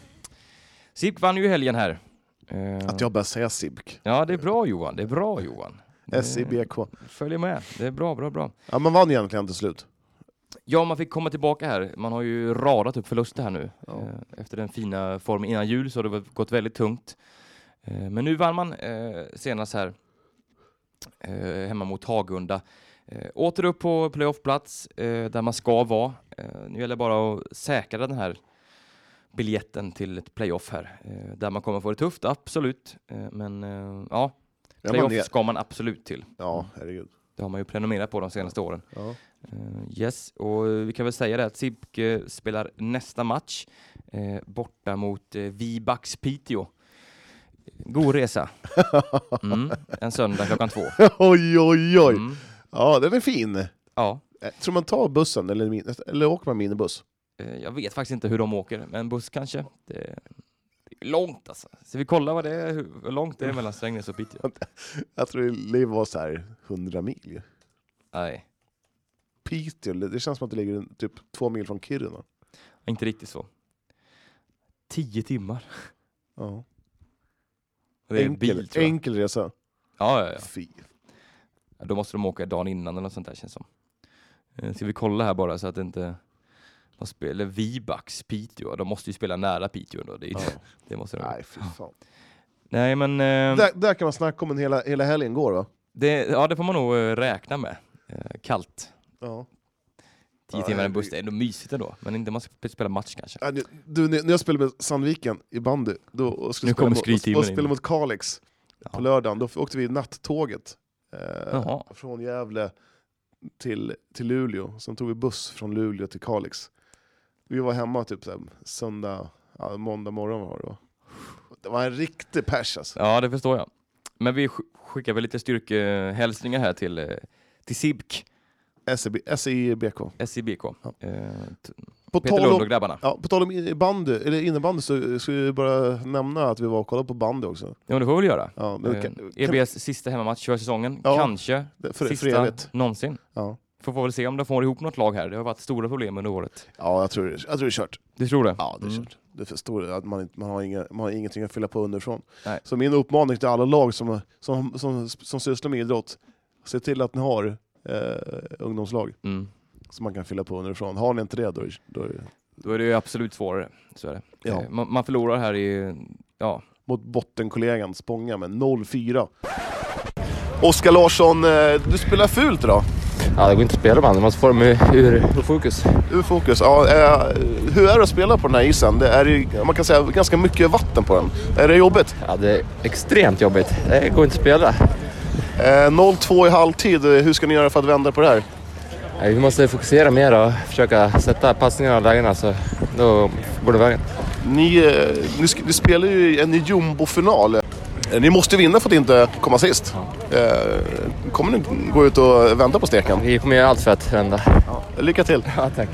Speaker 1: SIP vann ju i helgen här. Eh,
Speaker 2: Att jag börjar säga Sibk.
Speaker 1: Ja, det är bra Johan. Det är bra Johan. Det-
Speaker 2: S-I-B-K.
Speaker 1: Följer med. Det är bra, bra, bra.
Speaker 2: Ja, man vann egentligen till slut.
Speaker 1: Ja, man fick komma tillbaka här. Man har ju radat upp förluster här nu.
Speaker 2: Ja.
Speaker 1: Eh, Efter den fina formen innan jul så har det väl gått väldigt tungt. Eh, Men nu vann man eh, senast här eh, hemma mot Hagunda. Eh, Åter upp på playoffplats eh, där man ska vara. Eh, Nu gäller det bara att säkra den här biljetten till ett playoff här. Eh, Där man kommer få det tufft, absolut. Eh, Men eh, ja,
Speaker 2: Ja, man
Speaker 1: Playoff
Speaker 2: är,
Speaker 1: ska man absolut till.
Speaker 2: ja herregud.
Speaker 1: Det har man ju prenumererat på de senaste åren.
Speaker 2: Ja.
Speaker 1: Eh, yes, och eh, vi kan väl säga det att Sibke spelar nästa match eh, borta mot uh, Vibax Piteå. God resa. Mm, en söndag klockan två.
Speaker 2: oj, oj, oj!
Speaker 1: Mm,
Speaker 2: Ja, den är fin.
Speaker 1: ja,
Speaker 2: Eh, Tror man tar bussen eller, min- eller åker man minibuss?
Speaker 1: eh, jag vet faktiskt inte hur de åker, men buss kanske. Det, det är långt alltså. Så vi kollar vad det är, hur hur långt det är mellan Strängnäs och Piteå.
Speaker 2: Jag tror det var så här 100 mil. ju.
Speaker 1: Nej,
Speaker 2: Piteå, det känns som att det ligger typ två mil från Kiruna.
Speaker 1: inte riktigt så. Tio timmar.
Speaker 2: Ja.
Speaker 1: Det är en
Speaker 2: enkel,
Speaker 1: bil tror jag.
Speaker 2: enkel resa.
Speaker 1: Ja, ja, ja.
Speaker 2: Fy.
Speaker 1: Ja, Då måste de åka dagen innan eller något sånt där känns som. Eh, Ska vi kolla här bara så att inte... De spelar Vibax Piteå, de måste ju spela nära Piteå då. Det, är-
Speaker 2: Ja.
Speaker 1: det måste de.
Speaker 2: Nej, fy fan.
Speaker 1: Nej men, eh,
Speaker 2: Där, där kan man snacka om en hela, hela helgen går va?
Speaker 1: det, ja, det får man nog eh, räkna med. Eh, Kallt.
Speaker 2: Ja.
Speaker 1: Tio
Speaker 2: Ja,
Speaker 1: timmar i en
Speaker 2: herregud.
Speaker 1: buss, det är ändå mysigt ändå. Men inte om man ska sp- spela match kanske.
Speaker 2: Äh, nu- Du, när när jag spelade med Sandviken i bandy, då, och skulle
Speaker 1: Nu kommer
Speaker 2: spela mot,
Speaker 1: skryttimmen
Speaker 2: och, och
Speaker 1: in.
Speaker 2: spelade mot Kalix
Speaker 1: Ja.
Speaker 2: på lördagen, då f- åkte vi nattåget eh,
Speaker 1: Jaha.
Speaker 2: från Gävle till, till Luleå. Sen tog vi buss från Luleå till Kalix. Vi var hemma typ så här, söndag, ja, måndag morgon var det då. Det var en riktig pers alltså.
Speaker 1: Ja, det förstår jag. Men vi sk- skickar väl lite styrkehälsningar här till, eh, till SIBK,
Speaker 2: SEB, SEBK.
Speaker 1: SIBK.
Speaker 2: Ja.
Speaker 1: Eh, t-
Speaker 2: E På
Speaker 1: Peter
Speaker 2: tal
Speaker 1: Lund och
Speaker 2: om,
Speaker 1: grabbarna.
Speaker 2: ja, på tal om i- bandy, eller innebandy så ska vi bara nämna att vi var och kollade på bandy också.
Speaker 1: Ja, men det får vi väl göra.
Speaker 2: Ja, men
Speaker 1: Eh,
Speaker 2: kan- kan-
Speaker 1: EBS sista hemmamatch för säsongen,
Speaker 2: Ja.
Speaker 1: kanske.
Speaker 2: för, för
Speaker 1: Sista
Speaker 2: evigt.
Speaker 1: någonsin.
Speaker 2: Ja.
Speaker 1: Får vi väl se om de får ihop något lag här. Det har varit stora problem under året.
Speaker 2: Ja, jag tror, det- jag tror det är kört.
Speaker 1: Du Mm. tror det?
Speaker 2: Ja, det är kört. Det är för stor, att man, inte- man, har inga, man har ingenting att fylla på underifrån.
Speaker 1: Nej.
Speaker 2: Så min uppmaning till alla lag som, som, som, som sysslar med idrott, se till att ni har eh, ungdomslag
Speaker 1: Mm.
Speaker 2: som man kan fylla på underifrån. Har ni inte det, då är, då är det
Speaker 1: Då är det ju absolut svårare. Så är det.
Speaker 2: Ja.
Speaker 1: Eh, Man, man förlorar här i... Ja.
Speaker 2: mot bottenkollegan Spånga med 0-4. Oskar Larsson, eh, du spelar fult idag.
Speaker 3: Ja, det går inte att spela med andra. Man måste få dem ur, ur, ur fokus.
Speaker 2: Ur fokus. Ja, eh, hur är det att spela på den här isen? Det är ju, man kan säga ganska mycket vatten på den. Är det jobbigt?
Speaker 3: Ja, det är extremt jobbigt. Det går inte att spela.
Speaker 2: Eh, 0-2 i halvtid. eh, Hur ska ni göra för att vända på det här?
Speaker 3: Ja, Vi måste fokusera mer och försöka sätta passningarna och lägena så då går det vägen.
Speaker 2: Ni, eh, ni, sk- ni spelar ju en jumbofinal. Eh, Ni måste vinna för att inte komma sist. Eh, kommer ni gå ut och vända på steken?
Speaker 3: Vi kommer göra allt för att vända.
Speaker 2: Lycka till!
Speaker 3: Ja, tack.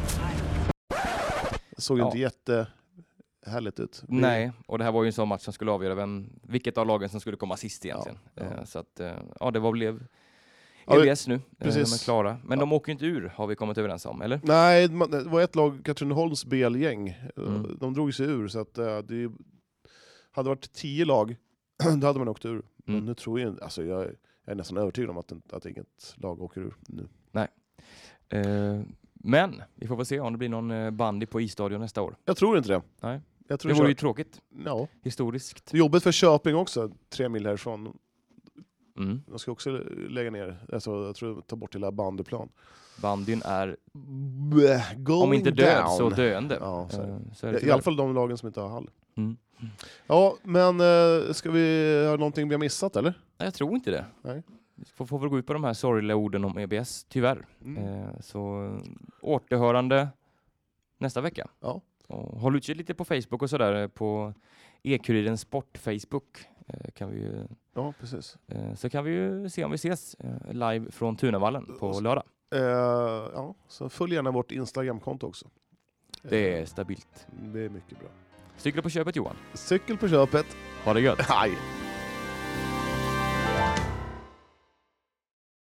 Speaker 2: Det såg
Speaker 1: Ja.
Speaker 2: inte jättehärligt ut.
Speaker 1: Nej, och det här var ju en sån match som skulle avgöra vem, vilket av lagen som skulle komma sist egentligen.
Speaker 2: Ja, ja.
Speaker 1: Eh, Så att, eh, ja, det var blev
Speaker 2: Ja, det-
Speaker 1: EBS nu, eh,
Speaker 2: precis.
Speaker 1: de är klara. Men de åker ju inte ur, har vi kommit överens om, eller?
Speaker 2: Nej, man- det var ett lag, Katrineholms BL-gäng. eh,
Speaker 1: Mm.
Speaker 2: De drog sig ur, så att eh, det hade varit tio lag, då hade man åkt ur. Men
Speaker 1: Mm.
Speaker 2: nu tror jag, alltså jag, jag är nästan övertygad om att, inte- att inget lag åker ur nu.
Speaker 1: Eh, Men vi får väl se om det blir någon eh, bandy på isstadion nästa år.
Speaker 2: Jag tror inte det.
Speaker 1: Nej.
Speaker 2: Jag tror
Speaker 1: Det vore ju tråkigt,
Speaker 2: ja.
Speaker 1: historiskt.
Speaker 2: det är jobbigt för Köping också, tre mil härifrån.
Speaker 1: Mm.
Speaker 2: De ska också lägga ner, alltså, jag tror ta bort hela bandyplan.
Speaker 1: Bandyn är,
Speaker 2: Bleh,
Speaker 1: om inte död,
Speaker 2: down.
Speaker 1: så döende.
Speaker 2: Ja, så är det.
Speaker 1: Eh, så är det
Speaker 2: I alla
Speaker 1: tyvärr.
Speaker 2: fall de lagen som inte har hall.
Speaker 1: Mm.
Speaker 2: Ja, men eh, ska vi ha någonting vi har missat eller?
Speaker 1: Nej, jag tror inte det.
Speaker 2: Nej.
Speaker 1: Vi får, får väl gå ut på de här sorgliga orden om EBS, tyvärr.
Speaker 2: Mm.
Speaker 1: Eh, så eh, återhörande nästa vecka.
Speaker 2: Ja.
Speaker 1: Och håll utkik lite på Facebook och sådär eh, på E-Kurirens Sport Facebook. Eh, kan vi, ju,
Speaker 2: Ja, precis.
Speaker 1: eh, så kan vi ju se om vi ses eh, live från Tunavallen på lördag.
Speaker 2: Eh, ja, så följ gärna vårt Instagramkonto också.
Speaker 1: Det
Speaker 2: Eh,
Speaker 1: är stabilt.
Speaker 2: det är mycket bra.
Speaker 1: Cykla på köpet Johan.
Speaker 2: Cykel på köpet.
Speaker 1: Ha det gött.
Speaker 2: Hej!